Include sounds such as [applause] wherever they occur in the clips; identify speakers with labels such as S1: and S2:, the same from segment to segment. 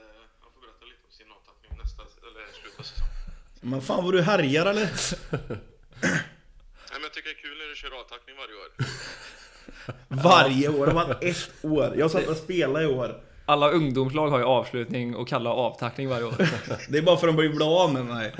S1: Eh, finns det något att nu nästa, eller slutet av säsongen.
S2: Men fan vad du härjar [laughs] eller?
S1: Nej men jag tycker det är kul när du kör avtackning varje år.
S2: Varje år, de har ett år. Jag satt och spelade i år.
S3: Alla ungdomslag har ju avslutning och kallar avtackning
S4: [laughs]
S3: varje år.
S2: Det är bara för att de börjar bli av med mig.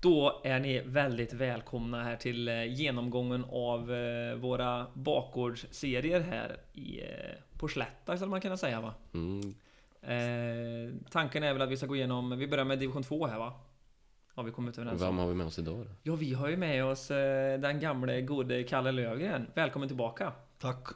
S3: Då är ni väldigt välkomna här till eh, genomgången av eh, våra bakgårdsserier här i, eh, på Slätta skulle man kunna säga va?
S4: Mm.
S3: Eh, tanken är väl att vi ska gå igenom, vi börjar med division 2 här va? Har vi kommit överens om.
S4: Vem har vi med oss idag då?
S3: Ja, vi har ju med oss eh, den gamle gode Kalle Lövgren. Välkommen tillbaka!
S2: Tack.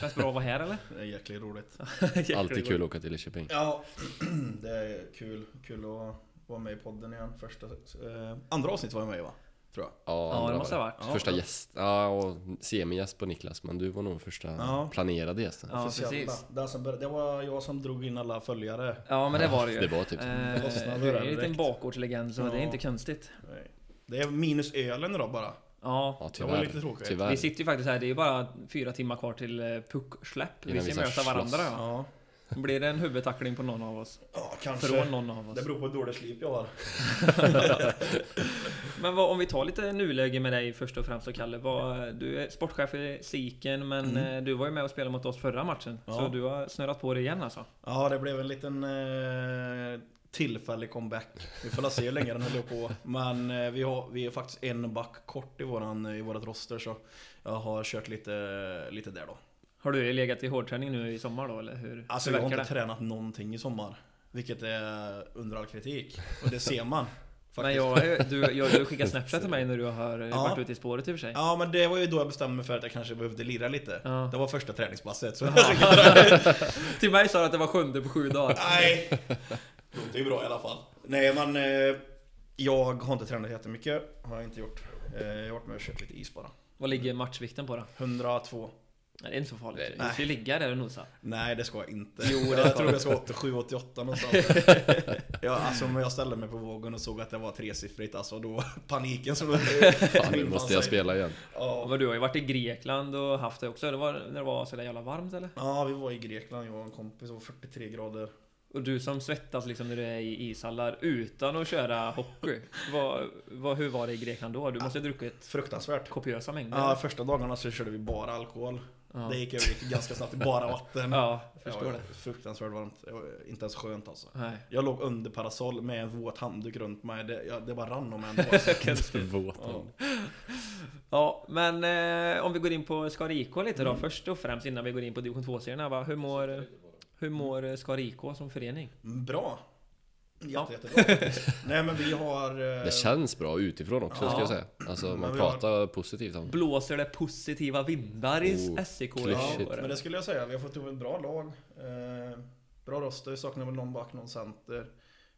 S3: Känns bra att vara här
S4: [laughs]
S3: eller?
S2: Det är jäkligt roligt.
S3: Jätteroligt.
S4: Alltid kul att åka till Lidköping.
S2: Ja, [clears throat] det är kul. Kul att vara med i podden igen. Första, eh, andra avsnitt var jag med i va? Tror jag.
S3: Ja,
S4: andra
S3: det måste
S4: var
S3: ha varit.
S2: Ja.
S4: Första gäst, ja och semigäst på Niklas men du var nog första
S2: Ja.
S4: planerade gästen.
S3: Ja,
S2: Officiella.
S3: precis.
S2: Den som började, det var jag som drog in alla följare.
S3: Ja, men det var det ju.
S4: Det var typ så.
S3: eh,
S2: Kostnader
S3: Du
S2: är
S3: är ju en liten
S2: direkt.
S3: bakgårdslegend så det är
S2: Ja.
S3: inte konstigt.
S2: Nej. Det är minus ölen idag bara.
S3: Ja,
S4: Ja,
S2: Det var
S4: tyvärr.
S2: lite tråkigt.
S4: tyvärr.
S3: vi sitter ju faktiskt här. Det är ju bara fyra timmar kvar till eh, pucksläpp. Vi
S4: Innan vi
S3: ska
S4: ska
S3: möta
S4: slåss.
S3: varandra. Ja.
S2: Ja,
S3: Blir det en huvudtackling på någon av oss?
S2: ja kanske.
S3: Från någon av oss.
S2: Det beror på hur dåligt slip jag har.
S3: [laughs] Men vad, om vi tar lite nuläge med dig först och främst då, Kalle. Vad, du är sportchef i Siken men
S4: Mm.
S3: eh, du var ju med och spelade mot oss förra matchen.
S2: Ja.
S3: Så du har snurrat på det igen alltså.
S2: Ja, det blev en liten eh, tillfällig comeback. Vi får se hur länge den håller på. Men eh, vi, har, vi är faktiskt en back kort i, våran, i vårat roster så jag har kört lite, lite där då.
S3: Har du legat i hårdträning nu i sommar då eller hur?
S2: Alltså
S3: hur
S2: jag har
S3: verkar
S2: inte
S3: det?
S2: tränat någonting i sommar. Vilket är under all kritik. Och det ser man. Faktiskt.
S3: [laughs] Men jag, är- du, jag,
S2: [laughs]
S3: du skickar snapchat till mig när du har eh,
S2: Ja.
S3: varit ute i spåret i och för sig.
S2: Ja men det var ju då jag bestämde mig för att jag kanske behövde lira lite.
S3: Ja.
S2: Det var första träningspasset. Så
S3: till mig sa du att det var sjunde på
S2: [laughs]
S3: sju dagar.
S2: Nej! Låter ju bra i alla fall. Nej men eh, jag har inte tränat jättemycket. Har jag inte gjort. Eh, jag har varit med och kört lite is bara.
S3: Vad ligger matchvikten på då?
S2: 102.
S3: Nej, det är inte så farligt. Du
S2: Nej.
S3: ska ju ligga där och nosa.
S2: Nej det ska jag inte.
S3: Jo, det ska
S2: jag tror
S3: du.
S2: jag ska 87, 88 någonstans. ja, alltså om jag ställde mig på vågen och såg att det var tresiffrigt alltså då [laughs] paniken som [laughs]
S4: Fan, nu måste jag spela igen.
S3: Ja,
S2: Ja.
S3: men du har ju varit i Grekland och haft det också. Det var när det var sådär jävla varmt eller?
S2: ja vi var i Grekland jag och en kompis och 43 grader.
S3: Och du som svettas liksom när du är i ishallar utan att köra hockey. Vad, vad, hur var det i Grekland då? Du måste ha druckit
S2: Fruktansvärt.
S3: kopiösa mängder.
S2: Ja, första dagarna så körde vi bara alkohol.
S3: Ja.
S2: Det gick över till ganska snabbt, bara vatten.
S3: Ja,
S2: Det
S3: förstår
S2: var
S3: det.
S2: Fruktansvärt varmt. Det var inte ens skönt alltså.
S3: Nej. [laughs]
S2: Jag låg under parasoll med en våt handduk runt mig. Det, jag, det bara rann om mig ändå.
S3: [laughs]
S2: alltså.
S4: Våt.
S2: Ja.
S3: Ja, men eh, om vi går in på Skara IK lite då
S2: Mm.
S3: först och främst innan vi går in på division 2-serierna. va? Hur mår, hur mår eh, Skara IK som förening?
S2: Mm, Bra!
S3: Ja.
S2: Jätte, jättebra.
S3: [laughs]
S2: Nej men vi har... eh,
S4: Det känns bra utifrån också
S2: Ja.
S4: ska jag säga. Alltså
S2: Men
S4: man
S2: vi har-
S4: pratar positivt om det.
S3: Blåser det positiva vindar i
S4: Oh,
S3: SIK?
S2: ja,
S4: klyschigt.
S2: Men det skulle jag säga. Vi har fått ihop ett bra lag. Eh, bra roster, saknar väl någon back, någon center.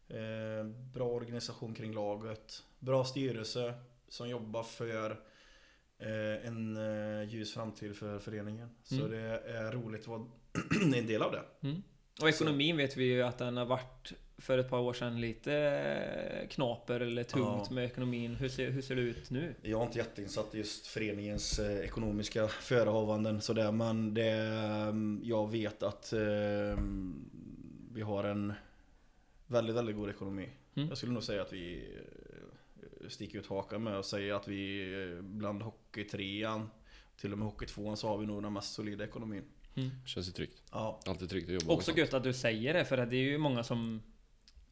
S2: Eh, bra organisation kring laget. Bra styrelse som jobbar för eh, en eh, ljus framtid för föreningen. Så
S3: Mm.
S2: det är roligt att vara [clears throat] en del av det.
S3: Och ekonomin vet vi ju att den har varit för ett par år sedan lite eh, knaper eller tungt
S2: Ja.
S3: med ekonomin. Hur ser, hur ser det ut nu?
S2: Jag är inte jätteinsatt i just föreningens eh, ekonomiska förehavanden sådär men det, ehm, jag vet att ehm, vi har en väldigt, väldigt god ekonomi.
S3: Mm.
S2: Jag skulle nog säga att vi eh, sticker ut hakan med att säga att vi eh, bland hockeytrean till och med hockeytvåan så har vi nog den mest solida ekonomin.
S4: Känns ju tryggt.
S2: Ja,
S4: Alltid tryggt att jobba med
S3: Också
S4: sånt.
S3: gött att du säger det för att det är ju många som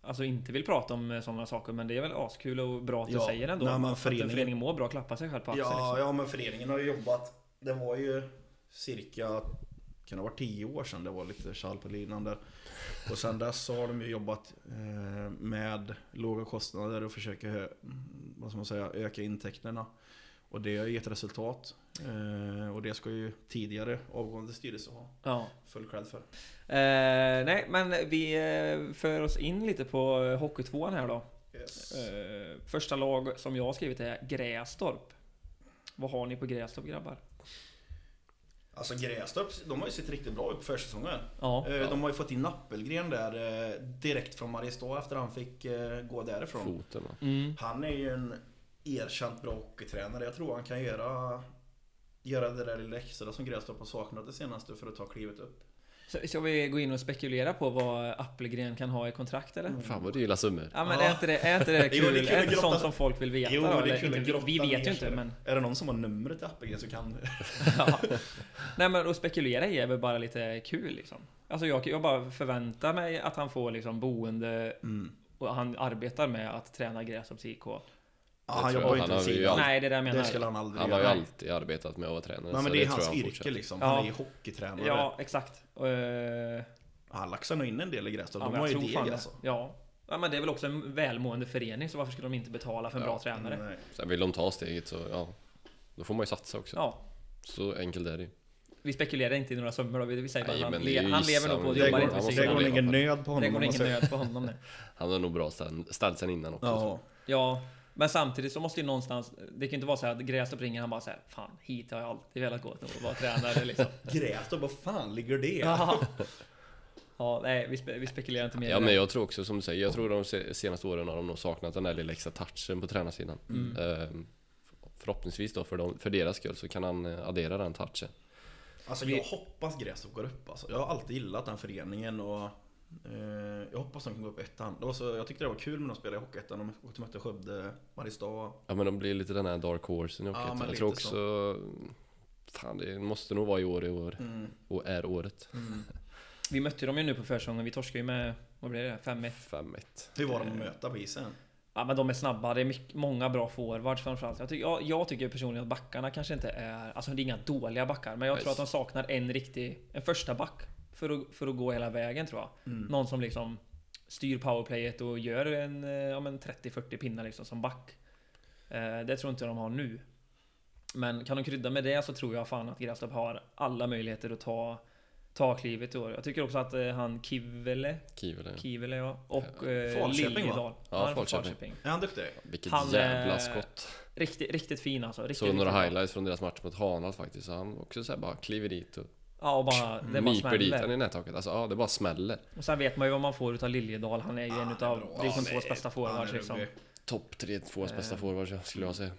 S3: Alltså inte vill prata om sådana saker men det är väl askul och bra att du
S2: Ja,
S3: säger det ändå.
S2: när man
S3: att en
S2: föreningen-
S3: förening mår bra, klappa sig själv på axeln.
S2: ja,
S3: liksom.
S2: ja men föreningen har ju jobbat. Det var ju cirka, kan det ha varit 10 år sedan det var lite tjall på linan där. Och sen dess så har de ju jobbat eh, med låga kostnader och försöker hö- vad ska man säga, öka intäkterna. Och det har gett resultat. Eh, och det ska ju tidigare avgående styrelse ha
S3: Ja.
S2: full cred för.
S3: Eh, nej, men vi eh, för oss in lite på eh, Hockeytvåan här då. Eh, första lag som jag har skrivit är Grästorp. Vad har ni på Grästorp grabbar?
S2: Alltså Grästorp, de har ju sett riktigt bra ut på försäsongen.
S3: Ja,
S2: Eh, De har ju fått in Appelgren där eh, direkt från Mariestad efter han fick eh, gå därifrån.
S4: Foten va?
S3: mm.
S2: Han är ju en erkänt bra hockeytränare. Jag tror han kan göra, göra det där lilla extra som Grästorp har saknat det senaste för att ta klivet upp.
S3: Så, ska vi gå in och spekulera på vad Appelgren kan ha i kontrakt eller?
S4: Fan vad dyra summor.
S3: Ja men är inte det, är inte det kul?
S2: Mm. [laughs] Jo, det är kul
S3: är, det
S2: att
S3: inte sånt
S2: grotta-
S3: som folk vill veta? då,
S2: det
S3: eller?
S2: är kul att
S3: Inte-
S2: grotta
S3: vi, vi vet
S2: ner
S3: ju
S2: sig.
S3: inte
S2: [laughs]
S3: men...
S2: Är det någon som har numret till Appelgren så kan...
S3: Ja. Nej men att spekulera i är väl bara lite kul liksom. Alltså jag, jag bara förväntar mig att han får liksom boende
S2: Mm.
S3: och han arbetar med att träna Grästorps IK.
S2: Ah,
S4: Det
S2: han
S4: tror
S2: jobbar
S4: jag.
S2: ju
S4: Han
S2: inte vid
S4: har ju
S2: sidan.
S3: Nej det är det jag menar.
S2: det skulle han aldrig
S4: Han har ju
S2: göra.
S4: alltid arbetat med att vara tränare.
S2: Nej,
S4: så
S2: men
S4: det
S2: det är
S4: tror jag
S2: hans
S4: han
S2: yrke
S4: fortsätter.
S2: liksom.
S3: Ja.
S2: Han är ju hockeytränare.
S3: Ja exakt. Och, eh,
S2: Han laxar nog in en del i Grästorp.
S3: ja,
S2: De
S3: men
S2: har ju
S3: jag tror
S2: deg
S3: fan det.
S2: alltså.
S3: Ja. ja men det är väl också en välmående förening så varför skulle de inte betala för en
S4: Ja.
S3: bra tränare?
S2: Nej.
S4: Sen vill de ta steget så ja. Då får man ju satsa också.
S3: Ja.
S4: Så enkelt är det ju.
S3: Vi spekulerar inte i några summor då, vi säger bara
S4: Nej,
S3: att han,
S4: men det är
S3: le-
S4: ju
S3: han
S4: gissa,
S3: lever nog på
S4: men
S3: att
S2: Det
S3: jobba
S4: jobbar
S2: går,
S4: inte, alltså. han
S3: lite
S4: måste
S2: det
S4: jobba
S2: går
S4: lite.
S2: ingen nöd på honom.
S3: Det går
S2: om man
S3: ingen
S2: säger.
S3: nöd på honom nu.
S4: Han har nog bra stand- stad sen innan också. tror
S2: Ja.
S3: Ja, men samtidigt så måste ju någonstans Det kan ju inte vara så här att Grästorp ringer han bara så här Fan, hit har jag alltid velat gå och vara tränare
S4: [laughs]
S3: liksom
S2: Grästorp, vad fan ligger det?
S3: Ja, ja nej vi, spe, vi spekulerar inte mer
S4: jag.
S3: i
S4: Ja
S3: det.
S4: men jag tror också som du säger, jag tror de se- senaste åren har de nog saknat den där lilla extra touchen på tränarsidan.
S2: Mm.
S4: Ehm, Förhoppningsvis då för, dem, för deras skull så kan han eh, addera den touchen.
S2: Alltså
S3: Vi-
S2: jag hoppas Grästorp går upp alltså. Jag har alltid gillat den föreningen och eh, jag hoppas de kan gå upp i ettan. Det var så, jag tyckte det var kul när de spelade i Hockeyettan. De åkte och mötte Skövde, Mariestad.
S4: Ja men de blir lite den här dark horsen i
S2: Ja,
S4: Hockeyettan.
S2: men
S4: Jag tror
S2: lite
S4: också... Fan det måste nog vara i år i år.
S2: Mm.
S4: Och är året.
S3: Vi mötte dem ju nu på försäsongen, vi torskade ju med Vad blev det?
S2: Mm.
S3: 5-1
S4: 5-1.
S2: Hur var de att möta på isen?
S3: Ja men de är snabba, det är mycket, många bra forwards framförallt jag, ty, jag, jag tycker personligen att backarna kanske inte är Alltså det är inga dåliga backar Men jag tror att
S4: Nice.
S3: de saknar en riktig En första back för att, för att gå hela vägen tror jag
S2: Mm.
S3: Någon som liksom styr powerplayet och gör en, eh, ja, men 30-40 pinnar liksom som back. Eh, Det tror inte jag de har nu. Men kan de krydda med det så tror jag fan att Grästorp har alla möjligheter att ta, ta klivet i år. Jag tycker också att eh, han Kivele,
S4: Kivele.
S3: Kivele ja, och eh,
S2: Falköping, va?
S3: Liljedahl.
S4: Ja,
S3: han är från
S4: Falköping.
S2: Är han duktig?
S4: Vilket
S3: Han,
S4: jävla
S3: eh,
S4: skott.
S3: Riktigt, riktigt fin alltså. Riktigt,
S4: Så några
S3: riktigt bra.
S4: highlights från deras match mot Hanal faktiskt. Så han också så här bara kliver dit och
S3: Ja, och bara, det bara
S4: nyper dit
S3: smäller.
S4: den i nättaket. Alltså ja, det bara smäller.
S3: Och sen vet man ju vad man får utav Liljedahl. Han är ju en utav division 2s bästa
S2: Han
S3: forwards
S2: är
S3: liksom.
S2: ruggig.
S4: Topp tre tvåas
S3: Eh,
S4: bästa forwards ja, skulle jag säga.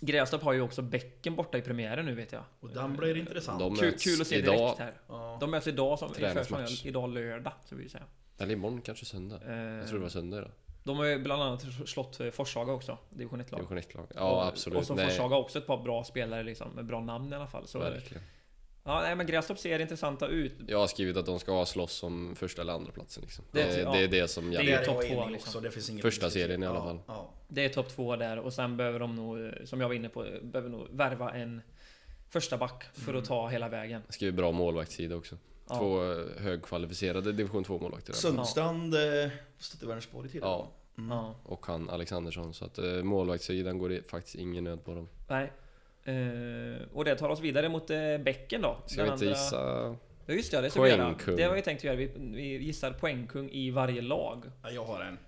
S3: Grästorp har ju också bäcken borta i premiären nu vet jag.
S2: Och den blir intressant.
S4: De
S3: Kul,
S4: möts
S3: kul att se
S4: idag,
S3: direkt här.
S2: Ja.
S3: De möts idag som i
S4: Träningsmatch.
S3: försäsongen, idag lördag så vill vi säga.
S4: Eller imorgon kanske söndag.
S3: Eh,
S4: Jag tror det var söndag idag.
S3: De har ju bland annat slått eh, Forshaga också, division 1 lag.
S4: Division 1-lag. Ja,
S3: och,
S4: absolut.
S3: Och så
S4: Nej,
S3: Forshaga också ett par bra spelare liksom, med bra namn i alla fall. Så
S4: verkligen.
S3: ja, nej men Grästorp ser intressanta ut.
S4: Jag har skrivit att de ska slåss om första eller andra platsen liksom.
S3: Det
S4: Det,
S3: ty-
S4: det,
S3: ja.
S4: är det som
S3: är
S2: Det
S4: gäller.
S3: ju
S2: är
S3: topp
S2: jag
S3: två,
S2: inne i
S3: liksom.
S2: också. Det finns ingen
S4: Första
S2: diskussion.
S4: serien i alla
S2: Ja,
S4: fall.
S2: Ja.
S3: Det är topp två där och sen behöver de nog, eh, som jag var inne på, eh, behöver nog värva en första back för
S4: Mm.
S3: att ta hela vägen.
S4: Jag skriver bra målvaktssida också.
S3: Ja.
S4: Två eh, högkvalificerade division 2-målvakter.
S2: Sundstrand eh, stötte Vänersborg Mm. tidigare.
S4: Ja,
S3: Ja,
S4: och han Alexandersson. Så att eh, målvaktssidan går det faktiskt ingen nöd på dem.
S3: nej. Eh, och det tar oss vidare mot eh, bäcken då.
S4: Ska
S3: Den
S4: vi inte
S3: andra-
S4: gissa?
S3: Ja just det, det ska vi göra.
S4: Poängkung.
S3: Det var ju tänkt att göra. Vi, vi gissar poängkung i varje lag.
S2: Ja, Jag har en.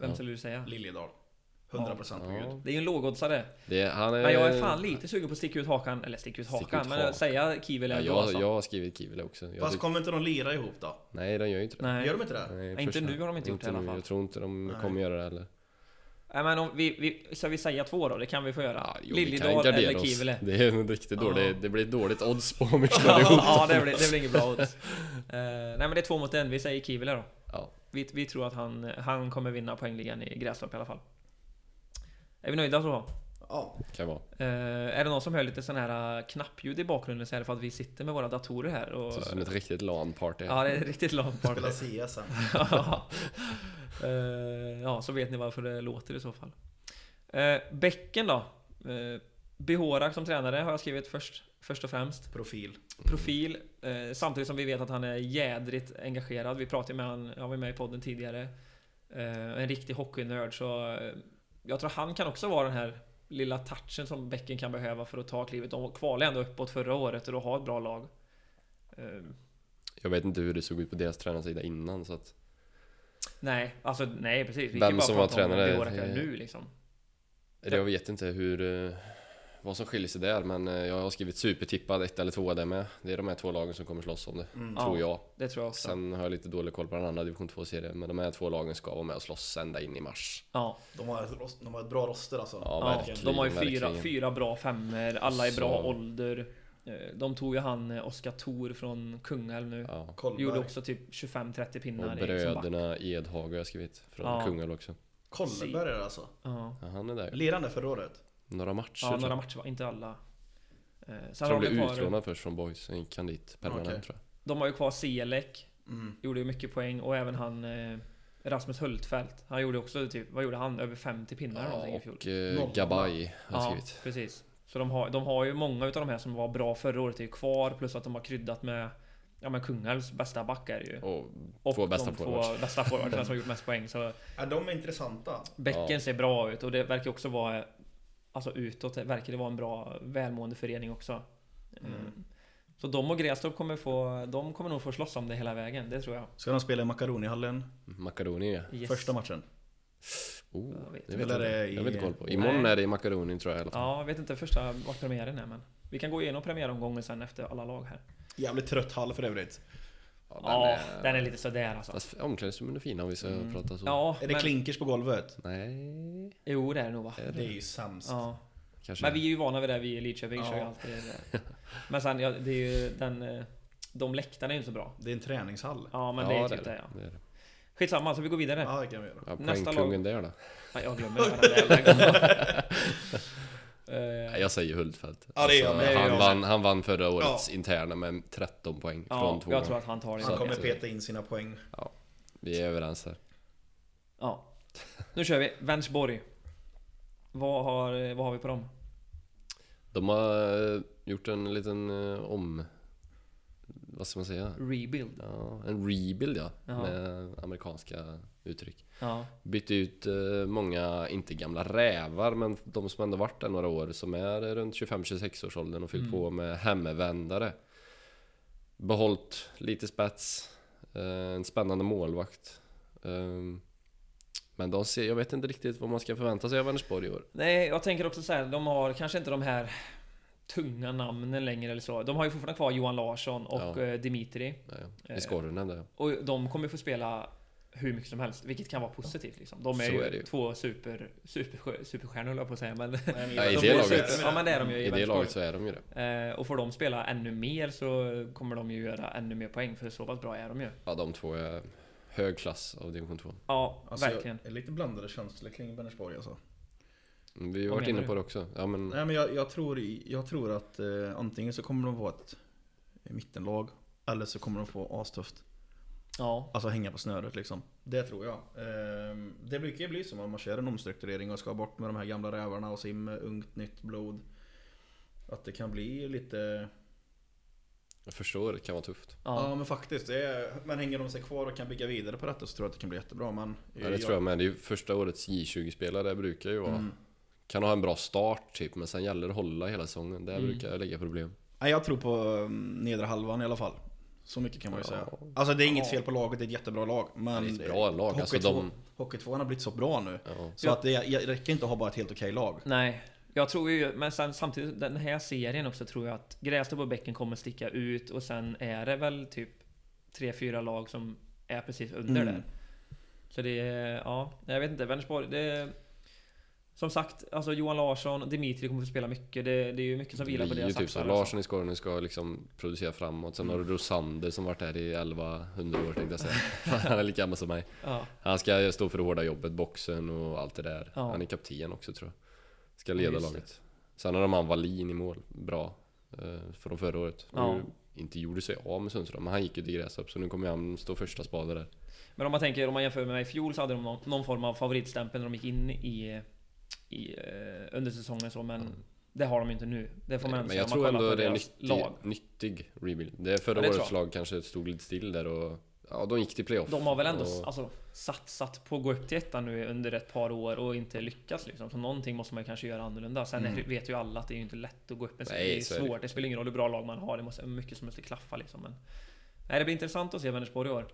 S3: Vem
S4: Ja.
S3: skulle du säga?
S2: Liljedahl. 100% på gud.
S4: Ja.
S3: Det är ju en lågoddsare.
S4: Det, är- han är,
S3: Men jag är fan lite sugen på att sticka ut hakan. Eller sticka ut
S4: Eh, Sticka
S3: hakan,
S4: ut
S3: men
S4: hakan.
S3: säga Kivel
S4: Ja,
S3: ändå
S4: jag,
S3: alltså.
S4: jag har skrivit Kivile också. Jag
S2: Fast
S4: tyck-
S2: kommer inte de lira ihop då?
S4: Nej, de gör ju inte det.
S3: Nej.
S2: Gör de inte det?
S4: Nej,
S3: inte nu har de inte gjort det i alla
S4: nu.
S3: fall.
S4: Jag tror inte de
S2: Nej.
S4: kommer göra det heller.
S3: Nej, men om vi, vi, ska vi säga två då? Det kan vi få göra.
S4: Ja, jo, vi kan
S3: Liljedahl
S4: gardera
S3: eller
S4: oss.
S3: Kivile.
S4: Det är en riktigt
S2: Ja.
S4: dålig, det blir ett dåligt odds på om vi slår ihop
S3: ja, det blir, det blir inget bra odds. Eh, nej men det är två mot en. Vi säger Kivile då.
S4: [laughs] Ja.
S3: Vi, vi tror att han, han kommer vinna poängligan i Grästorp i alla fall. Är vi nöjda så?
S2: Ja.
S4: Kan vara.
S3: Eh, är det någon som hör lite sån här eh, knappljud i bakgrunden så är det för att vi sitter med våra datorer här och...
S4: Så det är ett riktigt LAN-party.
S3: Ja, det är riktigt långt bort.
S2: Spela
S3: [laughs]
S2: CS sen.
S3: Eh, ja, så vet ni varför det låter i så fall. Eh, bäcken då? Uh, Behorak som tränare har jag skrivit först, först och främst.
S2: Profil.
S3: Profil, eh, samtidigt som vi vet att han är jädrigt engagerad. Vi pratade med han, jag var med i podden tidigare. Eh, en riktig hockeynörd, så eh, jag tror han kan också vara den här lilla touchen som bäcken kan behöva för att ta klivet. De kvalade ändå uppåt förra året och då ha ett bra lag. Eh,
S4: Jag vet inte hur det såg ut på deras tränarsida innan så att
S3: nej, alltså nej precis. Vi
S4: Vem
S3: kan bara
S4: som var
S3: prata om
S4: tränare,
S3: hur Oreca är
S4: eh,
S3: nu liksom.
S4: eller jag vet inte hur eh, vad som skiljer sig där men eh, jag har skrivit supertippad ett eller två där med. Det är de här två lagen som kommer slåss om det
S2: Mm.
S4: tror jag.
S3: Det tror jag också.
S4: Sen har jag lite dålig koll på den andra division 2-serien men de här två lagen ska vara med och slåss ända in i mars.
S3: ja.
S2: De har, ett, rost- de har ett bra roster alltså.
S4: Ja,
S3: Ja,
S4: verkligen.
S3: de har ju fyra,
S4: verkligen.
S3: fyra bra femmer alla är bra
S4: Så-
S3: ålder. Eh, De tog ju han eh, Oskar Thor från Kungälv nu.
S4: Ja.
S2: Kollberg.
S3: Gjorde också typ 25-30
S4: Och
S3: pinnar i liksom som back.
S4: bröderna Edhag har jag skrivit från
S3: Ja.
S4: Kungälv också.
S2: Kollberg är det alltså.
S3: Ja.
S4: Ja, han är där.
S2: Lirande förra året.
S4: Några matcher.
S3: ja,
S4: tror
S3: några
S4: jag.
S3: matcher, va? inte alla. Eh, Sen
S4: Jag tror
S3: har de,
S4: han blev
S3: ju kvar,
S4: utlånad först från BoIS, sen gick han dit permanent
S2: Okej.
S4: tror jag.
S3: de har ju kvar Selek,
S2: Mm.
S3: gjorde ju mycket poäng och även han eh, Rasmus Hultfeldt. Han gjorde också typ, vad gjorde han? Över 50 pinnar eller någonting i
S4: Ja,
S3: fjol.
S4: och eh,
S2: Noll.
S4: Gabay har
S3: Ja,
S4: jag skrivit.
S3: precis. Så de har, de har ju många utav de här som var bra förra året är ju kvar plus att de har kryddat med Ja men Kungälvs bästa back är det ju.
S4: Och,
S3: Och
S4: två bästa
S3: de två
S4: forwards.
S3: bästa forwardsen som
S4: [laughs]
S3: har gjort mest poäng. Så
S2: Ja, de är intressanta.
S3: bäcken
S4: Ja.
S3: ser bra ut och det verkar också vara... Alltså utåt verkar det vara en bra välmående förening också. Mm. Så de och Grästorp kommer få... De kommer nog få slåss om det hela vägen, det tror jag.
S2: Ska de spela i Makaronihallen
S4: Makaroni ja.
S3: Yes.
S2: första matchen?
S4: Oh,
S3: Jag vet
S4: det vet
S2: inte. Eller
S4: jag,
S2: är
S4: inte.
S2: i-
S4: jag vet inte koll på. Imorgon
S3: Nej.
S4: är det i Makaroni tror jag i alla fall.
S3: Ja, jag vet inte första vart premiären är men... Vi kan gå igenom premiäromgången sen efter alla lag här.
S2: Jävligt trött hall för övrigt.
S4: Ja, den
S3: Ja,
S4: är-
S3: den är lite sådär alltså.
S4: Fast omklädningsrummen är fina om vi ska prata så.
S3: Ja,
S2: Är det Eh,
S3: men...
S2: klinkers på golvet?
S4: Nej,
S3: Jo, det är det nog va?
S4: Är
S2: Det är ju sämst.
S3: Ja.
S4: kanske.
S3: Men vi är ju vana vid det, vi i Lidköping
S2: Ja.
S3: kör ju alltid det. Men sen, ja, det är ju den... eh, De läktarna är ju inte så bra.
S2: Det är en träningshall.
S3: Ja, men
S4: Ja,
S3: det är typ det, ja.
S4: det är det.
S3: Skitsamma, så vi går vidare.
S2: Ja, det kan vi göra.
S4: Ja, Alltså,
S3: Nästa
S4: poängkungen
S3: [laughs]
S4: där då.
S3: Nej, jag glömmer varenda jävla
S4: [laughs]
S3: gång.
S4: Nej,
S3: Eh,
S4: Jag säger Hultfeldt.
S2: Ja, det är jag med. Det är
S4: han,
S2: jag
S4: vann, han vann förra årets interna med 13 poäng
S3: Ja,
S4: från två.
S3: jag tror att han tar det.
S2: Han
S4: Så-
S2: kommer
S4: så-
S2: peta in sina poäng.
S4: Vi är överens här.
S3: Ja. Nu kör vi. Vänersborg. Vad har, vad har vi på dem?
S4: De har eh, gjort en liten eh, om... Vad ska man säga?
S3: Rebuild.
S4: Ja, en rebuild ja,
S3: Ja.
S4: med amerikanska uttryck.
S3: Ja.
S4: Bytt ut eh, många, inte gamla rävar, men de som ändå varit där några år som är runt 25-26 års åldern och fyllt på
S3: Mm.
S4: med hemvändare. Behållt lite spets, eh, en spännande målvakt. Ehm, men de ser, jag vet inte riktigt vad man ska förvänta sig av Vänersborg i år.
S3: Nej, jag tänker också så här. De har kanske inte de här tunga namnen längre eller så. De har ju fortfarande kvar Johan Larsson och
S4: Ja.
S3: eh, Dimitri.
S4: Nej,
S3: Eh,
S4: I skorren där.
S3: Och de kommer få spela hur mycket som helst, vilket kan vara positivt liksom. De är,
S4: Så
S3: ju,
S4: är det ju.
S3: två super, super, superstjärnor höll jag på att säga. Men,
S4: Ja, i
S2: de
S4: det
S2: är
S4: laget.
S2: supermän.
S3: ja men det är de ju
S4: I det
S3: Vänersborg.
S4: laget så är de ju det.
S3: [laughs] Eh, och får de spela ännu mer så kommer de ju göra ännu mer poäng för så pass bra är de ju.
S4: Ja, de två är hög klass av division 2.
S3: Ja,
S2: Alltså,
S3: verkligen.
S2: jag är lite blandade känslor kring Vänersborg alltså.
S4: Mm, Vi har
S3: Vad
S4: varit
S3: menar
S4: inne
S3: du?
S4: på det också. Ja, men,
S2: Nej men jag, jag, tror, i- jag tror att eh, antingen så kommer de vara ett mittenlag eller så kommer de få astufft.
S3: Ja.
S2: Alltså hänga på snöret liksom. Det tror jag. Ehm, det brukar ju bli som om man kör en omstrukturering och ska bort med de här gamla rävarna och så in med ungt nytt blod. Att det kan bli lite...
S4: jag förstår, det kan vara tufft.
S2: Ja,
S3: ja.
S2: men faktiskt. Det är, men hänger de sig kvar och kan bygga vidare på detta så tror jag att det kan bli jättebra. Men,
S4: Ja, det tror jag med. Det är ju första årets J20-spelare brukar ju
S2: Mm.
S4: vara... Kan ha en bra start typ, men sen gäller det att hålla hela säsongen. Där brukar jag lägga problem.
S2: Nej, jag tror på eh, nedre halvan i alla fall. Så mycket kan man ju
S4: Ja.
S2: säga. Alltså det är inget
S3: Ja.
S2: fel på laget, det är ett jättebra lag. Men
S4: det är ett bra lag,
S2: Hockey
S4: alltså,
S2: två-
S4: de-
S2: Hockeytvåan har blivit så bra nu.
S4: Ja.
S2: Så att det jag räcker inte att ha bara ett helt okej lag.
S3: Nej. Jag tror ju, men sen, samtidigt den här serien också tror jag att Grästorp och Bäcken kommer sticka ut och sen är det väl typ tre, fyra lag som är precis under
S2: Mm.
S3: där. Så det är, ja, jag vet inte. Vänersborg, det är, Som sagt, alltså Johan Larsson, Dimitri kommer få spela mycket. Det, det är ju mycket som vilar på
S4: det är ju
S3: deras
S4: typ så.
S3: axlar. alltså. också.
S4: Larsson i Skåne ska liksom producera framåt. Sen har du Rosander som varit här i 1100 år tänkte jag säga. Han är lika gammal som mig.
S3: Ja.
S4: Han ska stå för det hårda jobbet, boxen och allt det där.
S3: Ja.
S4: Han är kapten också tror jag. Ska leda
S3: just det.
S4: laget. Sen har de han Wallin i mål. Bra. Eh, från förra året.
S3: Ja.
S4: Nu Inte gjorde sig av med Sundström, men han gick ju till Grästorp. Så nu kommer han stå första spade där.
S3: Men om man tänker, om man jämför med i fjol så hade de någon, någon form av favoritstämpel när de gick in i, i eh, under säsongen så, men det har de ju inte nu. Det får man ändå
S4: Nej, men
S3: säga
S4: jag
S3: om man
S4: tror
S3: kollar
S4: ändå
S3: på
S4: det är
S3: deras
S4: nyttig,
S3: lag.
S4: nyttig rebuild. Det är förra
S3: Ja, det tror
S4: årets lag kanske stod lite still där och Ja, de gick till playoff.
S3: De har väl ändå
S4: Och-
S3: alltså, satsat på att gå upp till ettan nu under ett par år och inte lyckats liksom. Så någonting måste man kanske göra annorlunda. Sen är- vet ju alla att det är ju inte lätt att gå upp. en serie.
S4: Mm. Nej,
S3: det är
S4: så är det.
S3: svårt. Det spelar ingen roll hur bra lag man har. Det måste, mycket som måste klaffa liksom. Men, nej, det blir intressant att se Vänersborg i år.